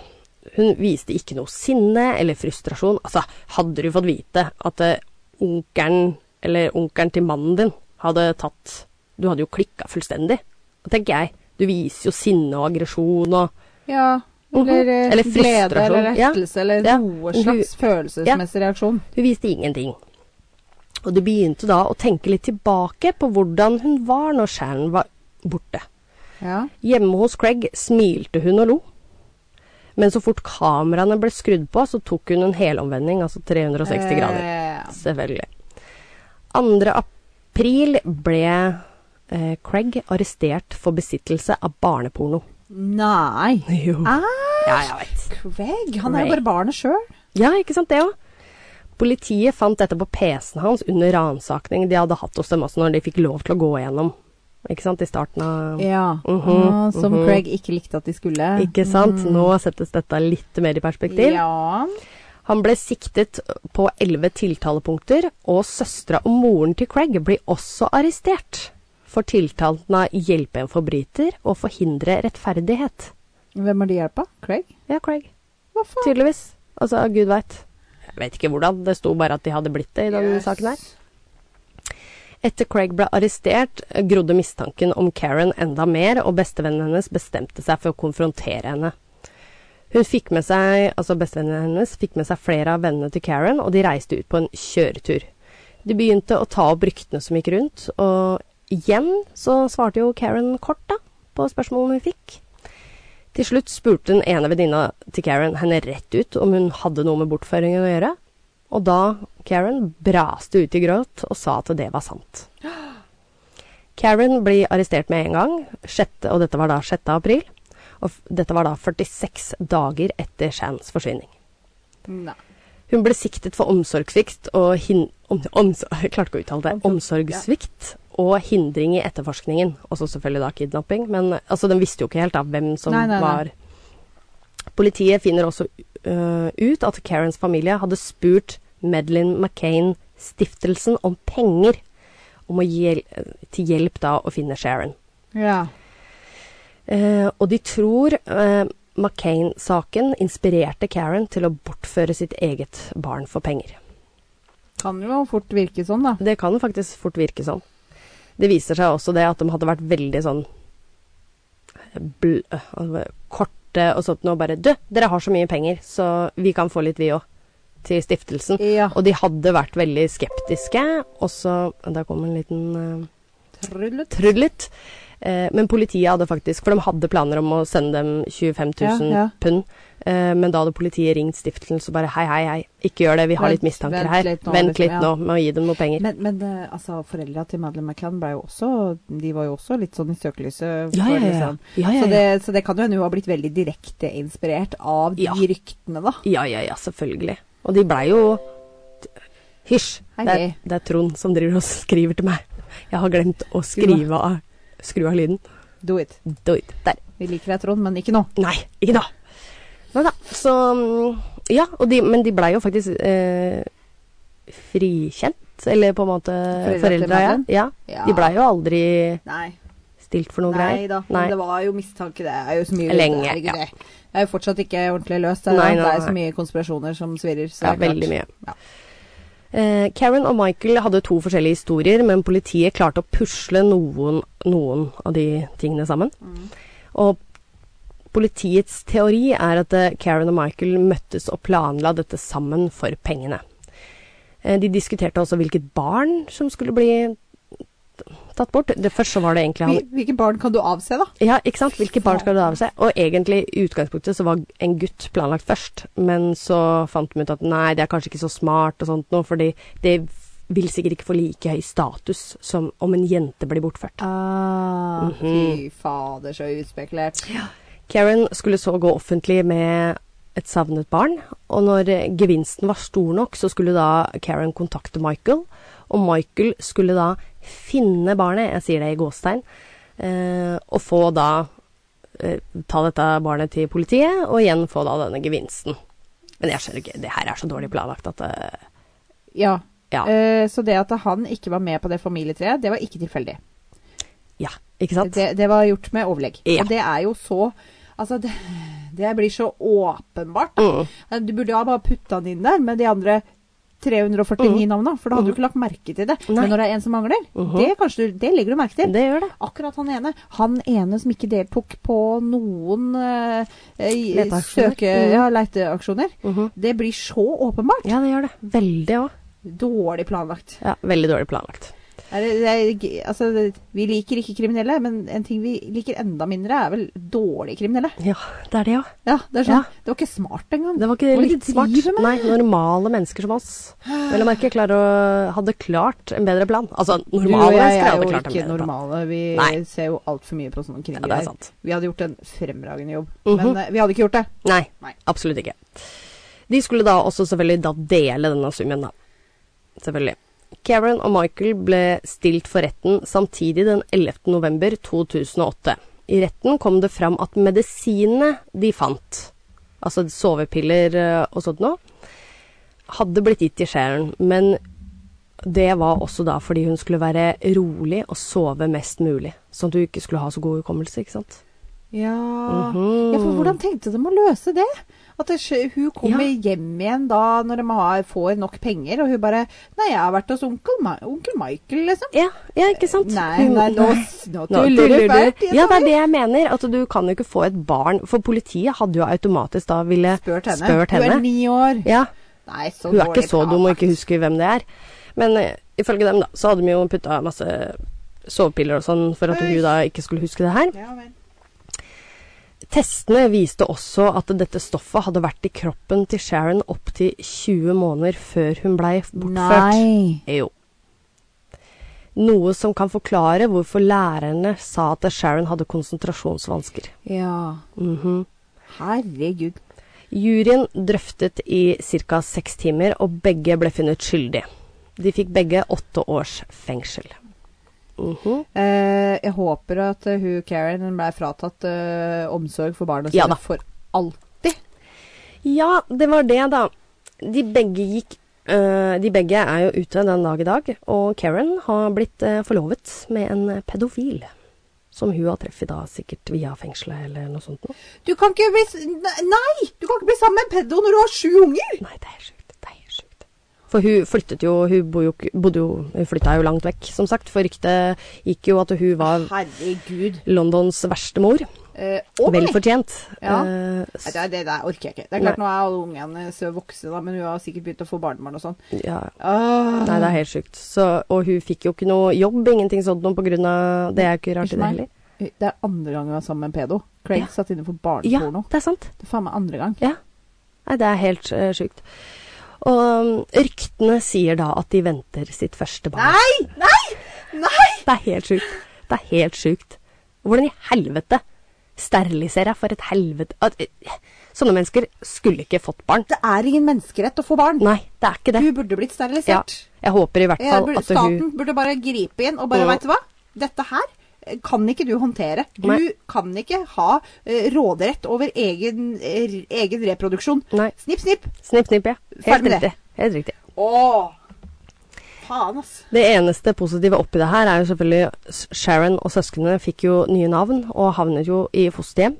Speaker 1: Hun viste ikke noe sinne eller frustrasjon. Altså, hadde du fått vite at eh, onkelen, eller onkelen til mannen din, hadde tatt Du hadde jo klikka fullstendig. Da tenker jeg, du viser jo sinne og aggresjon og
Speaker 2: Ja.
Speaker 1: Mhm.
Speaker 2: Eller, eh,
Speaker 1: Eller
Speaker 2: glede eller
Speaker 1: frustrasjon, ja.
Speaker 2: rettelse eller
Speaker 1: Ja.
Speaker 2: noe slags følelsesmessig reaksjon.
Speaker 1: Hun viste ingenting. Og de begynte da å tenke litt tilbake på hvordan hun var når Shannon var borte.
Speaker 2: Ja.
Speaker 1: Hjemme hos Craig smilte hun og lo. Men så fort kameraene ble skrudd på, så tok hun en helomvending, altså 360 grader.
Speaker 2: Eh,
Speaker 1: Selvfølgelig. 2. april ble eh, Craig arrestert for besittelse av barneporno.
Speaker 2: nei.
Speaker 1: Jo.
Speaker 2: Ah,
Speaker 1: Ja, jeg vet.
Speaker 2: Craig, han er jo
Speaker 1: Craig.
Speaker 2: bare barnet sjøl.
Speaker 1: Ja, ikke sant det òg. Politiet fant dette på PC-en hans under ransaking de hadde hatt hos dem også når de fikk lov til å gå igjennom. Ikke sant, i starten av
Speaker 2: Ja.
Speaker 1: Mhm,
Speaker 2: ah, som
Speaker 1: mhm.
Speaker 2: Craig ikke likte at de skulle.
Speaker 1: Ikke sant? Nå settes dette litt mer i perspektiv.
Speaker 2: Mm. Ja.
Speaker 1: Han ble siktet på elleve tiltalepunkter, og søstera og moren til Craig blir også arrestert for tiltalten av 'hjelpe en forbryter' og 'forhindre rettferdighet'.
Speaker 2: Hvem har de hjelp av? Craig?
Speaker 1: Ja, Craig.
Speaker 2: Hva faen?
Speaker 1: Tydeligvis. Altså, gud veit. Jeg vet ikke hvordan. Det sto bare at de hadde blitt det i denne
Speaker 2: Yes.
Speaker 1: saken her. Etter Craig ble arrestert, grodde mistanken om Karen enda mer, og bestevennen hennes bestemte seg for å konfrontere henne. Hun fikk med seg, altså Bestevennen hennes fikk med seg flere av vennene til Karen, og de reiste ut på en kjøretur. De begynte å ta opp ryktene som gikk rundt, og igjen så svarte jo Karen kort da, på spørsmålene hun fikk. Til slutt spurte den ene venninna til Karen henne rett ut om hun hadde noe med bortføringen å gjøre, og da Karen braste ut i gråt og sa at det var sant. Karen blir arrestert med en gang, sjette, og dette var da 6. april. Og f- dette var da 46 dager etter Shans forsvinning.
Speaker 2: Nei.
Speaker 1: Hun ble siktet for omsorgssvikt og hin om omsor- jeg klarte ikke å uttale det.
Speaker 2: Omsorg, ja.
Speaker 1: Omsorgssvikt og hindring i etterforskningen. Også selvfølgelig da kidnapping. Men altså, den visste jo ikke helt da hvem som
Speaker 2: Nei, nei, nei.
Speaker 1: var Politiet finner også øh, ut at Karens familie hadde spurt Madeleine McCain-stiftelsen om penger om å gi, til hjelp da å finne Sharon.
Speaker 2: Ja.
Speaker 1: Eh, og de tror eh, McCain-saken inspirerte Karen til å bortføre sitt eget barn for penger.
Speaker 2: Kan jo fort virke sånn, da.
Speaker 1: Det kan faktisk fort virke sånn. Det viser seg også det at de hadde vært veldig sånn eh, bl øh, korte og sånt og bare Du, dere har så mye penger, så vi kan få litt, vi òg. Til stiftelsen.
Speaker 2: Ja.
Speaker 1: Og de hadde vært veldig skeptiske. Og så Der kom en liten eh,
Speaker 2: Trullet.
Speaker 1: tryllet. Eh, men politiet hadde faktisk For de hadde planer om å sende dem 25 000
Speaker 2: Ja, ja.
Speaker 1: pund. Eh, men da hadde politiet ringt stiftelsen så bare Hei, hei, hei, ikke gjør det. Vi har
Speaker 2: Vent-
Speaker 1: litt mistanker
Speaker 2: vent
Speaker 1: her.
Speaker 2: litt nå,
Speaker 1: vent
Speaker 2: liksom,
Speaker 1: litt nå med å gi dem noe penger.
Speaker 2: Men, men eh, altså, foreldra til Madeleine McCann ble jo også De var jo også litt sånn i søkelyset.
Speaker 1: Ja,
Speaker 2: for
Speaker 1: ja, ja.
Speaker 2: liksom-
Speaker 1: Ja, ja,
Speaker 2: Så,
Speaker 1: ja.
Speaker 2: det, så det kan jo hende hun har blitt veldig direkte inspirert av de
Speaker 1: Ja.
Speaker 2: ryktene, da.
Speaker 1: Ja, ja, ja, selvfølgelig. Og de blei jo Hysj!
Speaker 2: Hei,
Speaker 1: Det, er-
Speaker 2: hei.
Speaker 1: det er Trond som driver og skriver til meg. Jeg har glemt å skrive av Skru av lyden.
Speaker 2: Do it.
Speaker 1: Doi, Der.
Speaker 2: Vi liker deg, Trond, men ikke nå.
Speaker 1: Nei, ikke da. Nei da. Så mm, Ja, og de, men de blei jo faktisk eh, frikjent. Eller på en måte
Speaker 2: Foreldre til
Speaker 1: foreldra, ja.
Speaker 2: Madeleine?
Speaker 1: ja.
Speaker 2: Ja.
Speaker 1: De blei jo aldri
Speaker 2: Nei.
Speaker 1: stilt for noe
Speaker 2: Nei
Speaker 1: greier.
Speaker 2: da, men det var jo mistanke, det er jo så mye
Speaker 1: Lenge,
Speaker 2: det er ikke
Speaker 1: ja.
Speaker 2: det. Det er jo fortsatt ikke ordentlig løst. Det er,
Speaker 1: Nei, nei,
Speaker 2: det er jo så
Speaker 1: nei.
Speaker 2: mye konspirasjoner som svirrer. Så
Speaker 1: Ja,
Speaker 2: det er klart.
Speaker 1: veldig mye.
Speaker 2: Ja.
Speaker 1: Eh, Karen og Michael hadde to forskjellige historier, men politiet klarte å pusle noen, noen av de tingene sammen.
Speaker 2: Mm.
Speaker 1: Og politiets teori er at eh, Karen og Michael møttes og planla dette sammen for pengene. Eh, De diskuterte også hvilket barn som skulle bli tatt bort. Det første var det egentlig han
Speaker 2: Hvil- Hvilke barn kan du avse, da?
Speaker 1: ja, ikke sant? Hvilke barn skal du ha med seg? Og egentlig, i utgangspunktet, så var en gutt planlagt først. Men så fant de ut at nei, det er kanskje ikke så smart og sånt noe, fordi det vil sikkert ikke få like høy status som om en jente blir bortført.
Speaker 2: Ah,
Speaker 1: Mhm.
Speaker 2: Fy fader, så utspekulert.
Speaker 1: Karen skulle så gå offentlig med et savnet barn, og når eh, gevinsten var stor nok, så skulle da Karen kontakte Michael, og Michael skulle da finne barnet, jeg sier det i gåstegn, eh, og få da eh, ta dette barnet til politiet, og igjen få da denne gevinsten. Men jeg skjønner ikke, det her er så dårlig planlagt at eh,
Speaker 2: Ja.
Speaker 1: Ja.
Speaker 2: Eh, så det at han ikke var med på det familietreet, det var ikke tilfeldig.
Speaker 1: Ja, ikke sant?
Speaker 2: Det, det var gjort med overlegg.
Speaker 1: Ja.
Speaker 2: Og det er jo så Altså, det, det blir så åpenbart. Eh,
Speaker 1: Mm.
Speaker 2: Du burde ha bare putta den inn der med de andre 349 navna, for da hadde du ikke lagt merke til det.
Speaker 1: Mhm. Nei.
Speaker 2: Men når det er en som mangler,
Speaker 1: Mhm.
Speaker 2: det, kanskje du, det legger du merke til.
Speaker 1: Det gjør det.
Speaker 2: Akkurat han ene. Han ene som ikke deltok på noen eh, i-
Speaker 1: Leteaksjoner.
Speaker 2: søke...
Speaker 1: Mhm.
Speaker 2: Ja, leteaksjoner.
Speaker 1: Mhm.
Speaker 2: Det blir så åpenbart.
Speaker 1: Ja, det gjør det. Veldig òg.
Speaker 2: Dårlig planlagt.
Speaker 1: Ja, veldig dårlig planlagt.
Speaker 2: Er det, det er, g- altså, det, vi liker ikke kriminelle, men en ting vi liker enda mindre, er vel dårlige kriminelle.
Speaker 1: Ja, det er det òg.
Speaker 2: Ja, Det er
Speaker 1: Ja.
Speaker 2: sånn, det var ikke smart engang.
Speaker 1: Det var ikke
Speaker 2: Hva er det
Speaker 1: litt
Speaker 2: de
Speaker 1: smart.
Speaker 2: driver med?
Speaker 1: Nei, normale mennesker som oss. Vel å merke klarer å hadde klart en bedre plan. Altså,
Speaker 2: Du og
Speaker 1: normale
Speaker 2: jeg
Speaker 1: mennesker
Speaker 2: er
Speaker 1: hadde
Speaker 2: jo
Speaker 1: klart en
Speaker 2: ikke
Speaker 1: bedre plan.
Speaker 2: normale. Vi
Speaker 1: Nei.
Speaker 2: ser jo altfor mye på sånne
Speaker 1: Ja,
Speaker 2: kriger.
Speaker 1: det er sant.
Speaker 2: Vi hadde gjort en fremragende jobb,
Speaker 1: Mhm.
Speaker 2: men eh, vi hadde ikke gjort det.
Speaker 1: Nei,
Speaker 2: Nei.
Speaker 1: absolutt ikke. De skulle da også selvfølgelig da dele denne summen, da. Selvfølgelig. Karen og Michael ble stilt for retten samtidig den 11. november 2008. I retten kom det fram at medisinene de fant, altså sovepiller eh, og sånt noe, hadde blitt gitt til Sharon, men Det var også da fordi hun skulle være rolig og sove mest mulig. Sånn at du ikke skulle ha så god hukommelse, ikke sant.
Speaker 2: Ja.
Speaker 1: Mhm.
Speaker 2: ja, for hvordan tenkte de å løse det? At det, skj- hun kommer
Speaker 1: Ja.
Speaker 2: hjem igjen da når de har, får nok penger, og hun bare 'Nei, jeg har vært hos onkel, Ma onkel Michael', liksom.
Speaker 1: Ja, ja ikke sant.
Speaker 2: Nei,
Speaker 1: Hun-
Speaker 2: nei, nå, s-
Speaker 1: Nå
Speaker 2: nå tuller du fælt.
Speaker 1: Ja, det er det jeg mener. At du kan jo ikke få et barn For politiet hadde jo automatisk da ville
Speaker 2: Spurt henne.
Speaker 1: spurt
Speaker 2: Hun er
Speaker 1: henne.
Speaker 2: ni år.
Speaker 1: Ja,
Speaker 2: Nei, så
Speaker 1: hun er
Speaker 2: dårlig
Speaker 1: ikke så dum og ikke husker hvem det er. Men eh, ifølge dem, da, så hadde de jo putta masse sovepiller og sånn for at
Speaker 2: Oi.
Speaker 1: hun da ikke skulle huske det her.
Speaker 2: planlagt. Ja, vel.
Speaker 1: Testene viste også at dette stoffet hadde vært i kroppen til Sharon opptil 20 måneder før hun blei bortført.
Speaker 2: Nei.
Speaker 1: Eh, Jo. Noe som kan forklare hvorfor lærerne sa at Sharon hadde konsentrasjonsvansker.
Speaker 2: Ja.
Speaker 1: Mhm.
Speaker 2: Herregud.
Speaker 1: Juryen drøftet i ca. seks timer, og begge ble funnet skyldige. De fikk begge åtte års fengsel. Mhm.
Speaker 2: Eh, jeg håper at eh, hun Karen ble fratatt eh, omsorg for barna
Speaker 1: Ja
Speaker 2: sine
Speaker 1: da.
Speaker 2: for alltid.
Speaker 1: Ja, det var det, da. De begge gikk øh, De begge er jo ute den dag i dag, og Karen har blitt øh, forlovet med en pedofil. Som hun har treffet da sikkert via fengselet eller noe sånt noe.
Speaker 2: Du kan ikke bli s- ne- Nei! Du kan ikke bli sammen med en pedo når du har sju unger!
Speaker 1: Nei, det er sjukt. Det er sjukt. For hun flyttet jo Hun bo jo, ikke- bodde jo Hun flytta jo langt vekk, som sagt. For ryktet gikk jo at hun var
Speaker 2: Herregud.
Speaker 1: Londons verste mor.
Speaker 2: Eh, og
Speaker 1: Vel
Speaker 2: meg.
Speaker 1: fortjent.
Speaker 2: Ja.
Speaker 1: Eh,
Speaker 2: Nei,
Speaker 1: s-
Speaker 2: det, det der orker jeg ikke. Det er
Speaker 1: Nei.
Speaker 2: klart Nå er alle ungene så voksne, da, men hun har sikkert begynt å få barnebarn og sånn.
Speaker 1: ja.
Speaker 2: Ah.
Speaker 1: Nei, det er helt sjukt. Så, og hun fikk jo ikke noe jobb, ingenting sånt noe på grunn av Det er jo ikke rart i det
Speaker 2: Ikke meg.
Speaker 1: heller.
Speaker 2: Eh, Det er andre gang hun er sammen med en pedo. Craig
Speaker 1: Ja.
Speaker 2: satt inne for
Speaker 1: Ja,
Speaker 2: barneporno.
Speaker 1: det er sant.
Speaker 2: Det er faen meg andre gang.
Speaker 1: Ja. Nei, det er helt eh, sjukt. Og um, ryktene sier da at de venter sitt første barn.
Speaker 2: Nei! Nei! Nei!
Speaker 1: Det er helt sjukt. Det er helt sjukt. Hvordan i helvete steriliserer jeg for et helvete at, eh, Sånne mennesker skulle ikke fått barn.
Speaker 2: Det er ingen menneskerett å få barn.
Speaker 1: Nei, det er ikke det.
Speaker 2: Hun burde blitt
Speaker 1: Ja,
Speaker 2: sterilisert.
Speaker 1: jeg håper i hvert
Speaker 2: Jeg
Speaker 1: fall
Speaker 2: burde,
Speaker 1: at hun
Speaker 2: staten burde bare gripe inn og bare,
Speaker 1: Mm.
Speaker 2: vet du hva? Dette her eh, kan ikke du håndtere. Du
Speaker 1: Nei.
Speaker 2: kan ikke ha eh, råderett over egen, eh, egen reproduksjon.
Speaker 1: Nei.
Speaker 2: Snipp, snipp.
Speaker 1: Snipp, snipp, ja.
Speaker 2: Ferdig
Speaker 1: Helt
Speaker 2: med det.
Speaker 1: riktig. Helt riktig.
Speaker 2: Åh. Faen, ass.
Speaker 1: Det eneste positive oppi det her er jo selvfølgelig S- Sharon og søsknene fikk jo nye navn og havnet jo i fosterhjem.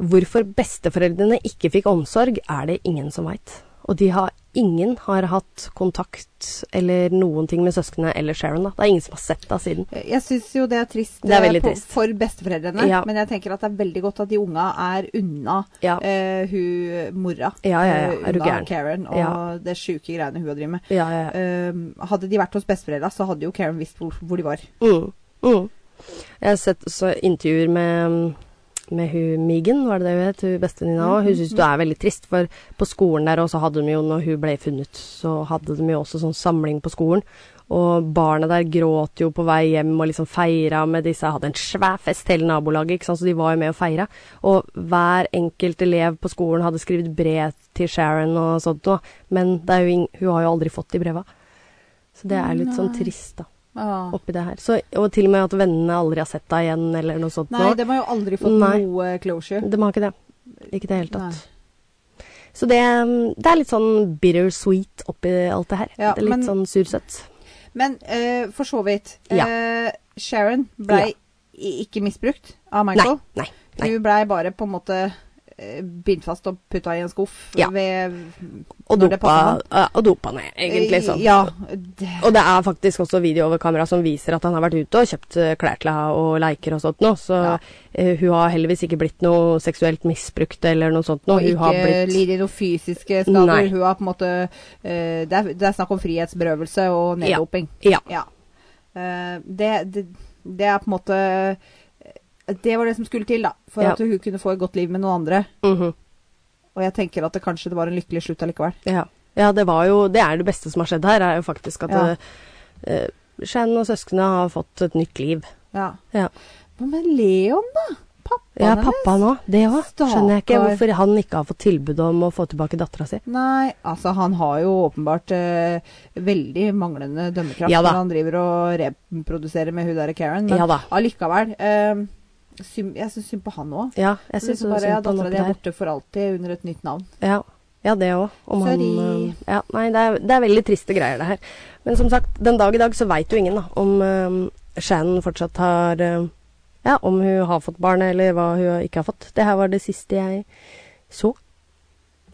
Speaker 1: Hvorfor besteforeldrene ikke fikk omsorg, er det ingen som veit. Og de har, ingen har hatt kontakt eller noen ting med søsknene eller Sharon. da. Det er ingen som har sett henne siden.
Speaker 2: Eh, Jeg syns jo det er trist,
Speaker 1: Det er
Speaker 2: eh,
Speaker 1: veldig
Speaker 2: på-
Speaker 1: trist.
Speaker 2: for besteforeldrene,
Speaker 1: Ja.
Speaker 2: men jeg tenker at det er veldig godt at de unga er unna
Speaker 1: Ja.
Speaker 2: eh, hun mora.
Speaker 1: Ja, ja, ja.
Speaker 2: eh,
Speaker 1: Er du
Speaker 2: unna
Speaker 1: gæren?
Speaker 2: Karen og
Speaker 1: Ja.
Speaker 2: det sjuke greiene hun driver med.
Speaker 1: Ja, ja,
Speaker 2: Um, hadde de vært hos besteforeldra, så hadde jo Karen visst hvor, hvor de var.
Speaker 1: Mm, mm. Jeg har sett også intervjuer med, mm, med hun Migen, var det det hun het, hun bestevenninna òg. Hun syns det er veldig trist, for på skolen der også hadde de jo, når hun ble funnet, så hadde de jo også sånn samling på skolen. Og barna der gråt jo på vei hjem og liksom feira med disse. Hadde en svær fest hele nabolaget, ikke sant? så de var jo med og feira. Og hver enkelt elev på skolen hadde skrevet brev til Sharon og sånt noe. Men det er jo ing hun har jo aldri fått de breva. Så det er litt sånn
Speaker 2: Nei.
Speaker 1: trist, da
Speaker 2: Ah.
Speaker 1: oppi det her. Så, og til og med at vennene aldri har sett deg igjen, eller noe sånt.
Speaker 2: Nei,
Speaker 1: nå.
Speaker 2: de har jo aldri fått
Speaker 1: Nei.
Speaker 2: noe closure.
Speaker 1: De har ikke det. Ikke i det hele tatt. Så det, det er litt sånn bittersweet oppi alt det her.
Speaker 2: Ja,
Speaker 1: det er litt
Speaker 2: men-
Speaker 1: sånn sursøtt.
Speaker 2: Men eh, for så vidt
Speaker 1: Ja.
Speaker 2: eh, Sharon blei i- ikke misbrukt av
Speaker 1: Nei,
Speaker 2: Michael.
Speaker 1: nei, nei.
Speaker 2: Hun blei bare på en måte eh, bindt fast og putta i en skuff
Speaker 1: Ja.
Speaker 2: ved
Speaker 1: Og
Speaker 2: når det
Speaker 1: dopa,
Speaker 2: passer
Speaker 1: ja, og dopa ned, egentlig. sånn.
Speaker 2: Ja. det-
Speaker 1: Og det er faktisk også video over kamera som viser at han har vært ute og kjøpt eh, klær til henne og leker og sånt nå, så
Speaker 2: Ja.
Speaker 1: eh, hun har heldigvis ikke blitt noe seksuelt misbrukt eller noe sånt nå.
Speaker 2: Og
Speaker 1: Hun har
Speaker 2: ikke
Speaker 1: blitt
Speaker 2: lidd i noen fysiske skader.
Speaker 1: Nei.
Speaker 2: Hun har på en måte eh, det, er, det er snakk om frihetsberøvelse og
Speaker 1: Ja.
Speaker 2: neddoping.
Speaker 1: Ja.
Speaker 2: Ja. Eh, det, det, det er på en måte eh, Det var det som skulle til, da. For
Speaker 1: Ja.
Speaker 2: at hun kunne få et godt liv med noen andre.
Speaker 1: Mhm.
Speaker 2: Og jeg tenker at det kanskje det var en lykkelig slutt allikevel.
Speaker 1: Ja. ja, det var jo Det er det beste som har skjedd her, er jo faktisk at
Speaker 2: Ja.
Speaker 1: eh, Shannon og søsknene har fått et nytt liv.
Speaker 2: Ja.
Speaker 1: Ja,
Speaker 2: Hva med Leon, da? Pappaen
Speaker 1: ja
Speaker 2: hennes?
Speaker 1: pappaen òg. Det òg. Skjønner jeg ikke
Speaker 2: Stakkar.
Speaker 1: hvorfor han ikke har fått tilbud om å få tilbake dattera si.
Speaker 2: Nei, altså han har jo åpenbart eh, veldig manglende dømmekraft
Speaker 1: Ja da.
Speaker 2: når han driver og reproduserer med hun der Karen, men
Speaker 1: Ja da.
Speaker 2: allikevel eh, syn- Jeg syns synd på han òg.
Speaker 1: Ja, jeg
Speaker 2: Jeg syns
Speaker 1: syns
Speaker 2: bare
Speaker 1: sånn synd
Speaker 2: ja,
Speaker 1: på han
Speaker 2: dattera
Speaker 1: oppi
Speaker 2: di er
Speaker 1: der.
Speaker 2: borte for alltid under et nytt navn.
Speaker 1: Ja. Ja, det òg. Om han,
Speaker 2: Sorry.
Speaker 1: eh, Ja, nei, det er, det er veldig triste greier, det her. Men som sagt, den dag i dag så veit jo ingen da, om eh, Shannon fortsatt har eh, Ja, om hun har fått barn, eller hva hun ikke har fått. Det her var det siste jeg så.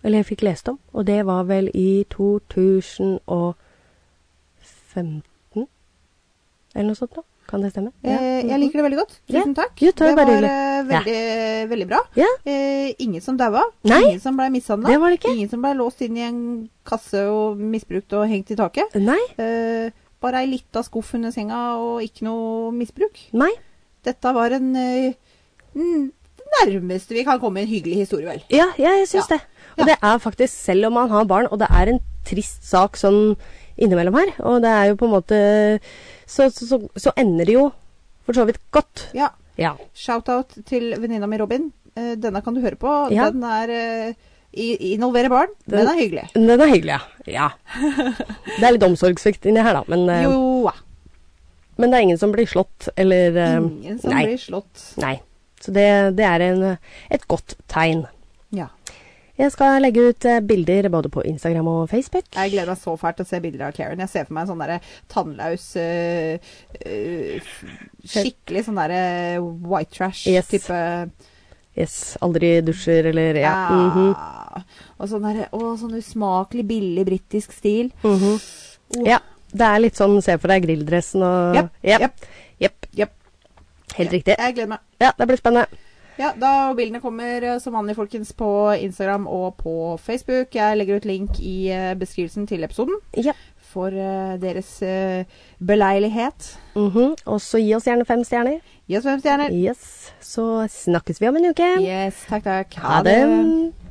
Speaker 1: Eller jeg fikk lest om. Og det var vel i 2015? Eller noe sånt noe. Kan det stemme?
Speaker 2: Eh, jeg liker det veldig godt.
Speaker 1: Ja.
Speaker 2: Tusen takk.
Speaker 1: Jo, takk,
Speaker 2: det
Speaker 1: bare
Speaker 2: var
Speaker 1: hyggelig.
Speaker 2: eh, veldig, veldig bra.
Speaker 1: Ja.
Speaker 2: Eh, ingen som daua.
Speaker 1: Nei.
Speaker 2: Ingen som ble mishandla.
Speaker 1: Det var det ikke.
Speaker 2: Ingen som ble låst inn i en kasse og misbrukt og hengt i taket.
Speaker 1: Nei.
Speaker 2: Eh, bare ei lita skuff under senga og ikke noe misbruk.
Speaker 1: Nei.
Speaker 2: Dette var en eh, n- nærmeste vi kan komme en hyggelig historie, vel.
Speaker 1: Ja, ja, jeg syns
Speaker 2: Ja.
Speaker 1: det. Og
Speaker 2: Ja.
Speaker 1: det er faktisk, selv om man har barn, og det er en trist sak sånn innimellom her, og det er jo på en måte Så, så, så, så ender det jo for så vidt godt.
Speaker 2: Ja.
Speaker 1: Ja.
Speaker 2: Shout-out til venninna mi Robin. Eh, denne kan du høre på.
Speaker 1: Ja.
Speaker 2: Den er eh, i- involverer barn.
Speaker 1: Den-
Speaker 2: Den, er hyggelig.
Speaker 1: Den er hyggelig, ja. ja. Det er litt omsorgssvikt inni her, da, men, eh,
Speaker 2: Joa.
Speaker 1: men det er ingen som blir slått, eller eh,
Speaker 2: Ingen som
Speaker 1: nei.
Speaker 2: blir slått.
Speaker 1: Nei. Så det, det er en, et godt tegn.
Speaker 2: Ja.
Speaker 1: Jeg skal legge ut eh, bilder både på Instagram og Facebook.
Speaker 2: Jeg gleder meg så fælt til å se bilder av Claren. Jeg ser for meg en sånn derre tannlaus øh, øh, Skikkelig sånn derre white
Speaker 1: Yes.
Speaker 2: trash-type.
Speaker 1: Yes. Aldri dusjer eller ja.
Speaker 2: Ah.
Speaker 1: Mhm.
Speaker 2: Og sånn derre Å, sånn usmakelig billig britisk stil.
Speaker 1: Mhm.
Speaker 2: Åh.
Speaker 1: Ja. Det er litt sånn se for deg grilldressen og
Speaker 2: Jepp,
Speaker 1: Jepp.
Speaker 2: jepp.
Speaker 1: Jepp.
Speaker 2: Jepp.
Speaker 1: Helt riktig.
Speaker 2: Jeg gleder meg.
Speaker 1: Ja, det blir spennende.
Speaker 2: Ja, da og bildene kommer eh, som vanlig, folkens, på Instagram og på Facebook. Jeg legger ut link i eh, beskrivelsen til episoden
Speaker 1: Ja.
Speaker 2: for eh, deres eh, beleilighet.
Speaker 1: Mhm. Og så gi oss gjerne fem stjerner.
Speaker 2: Gi oss fem stjerner.
Speaker 1: Yes. Så snakkes vi om en uke.
Speaker 2: Yes, takk, takk.
Speaker 1: Ha det.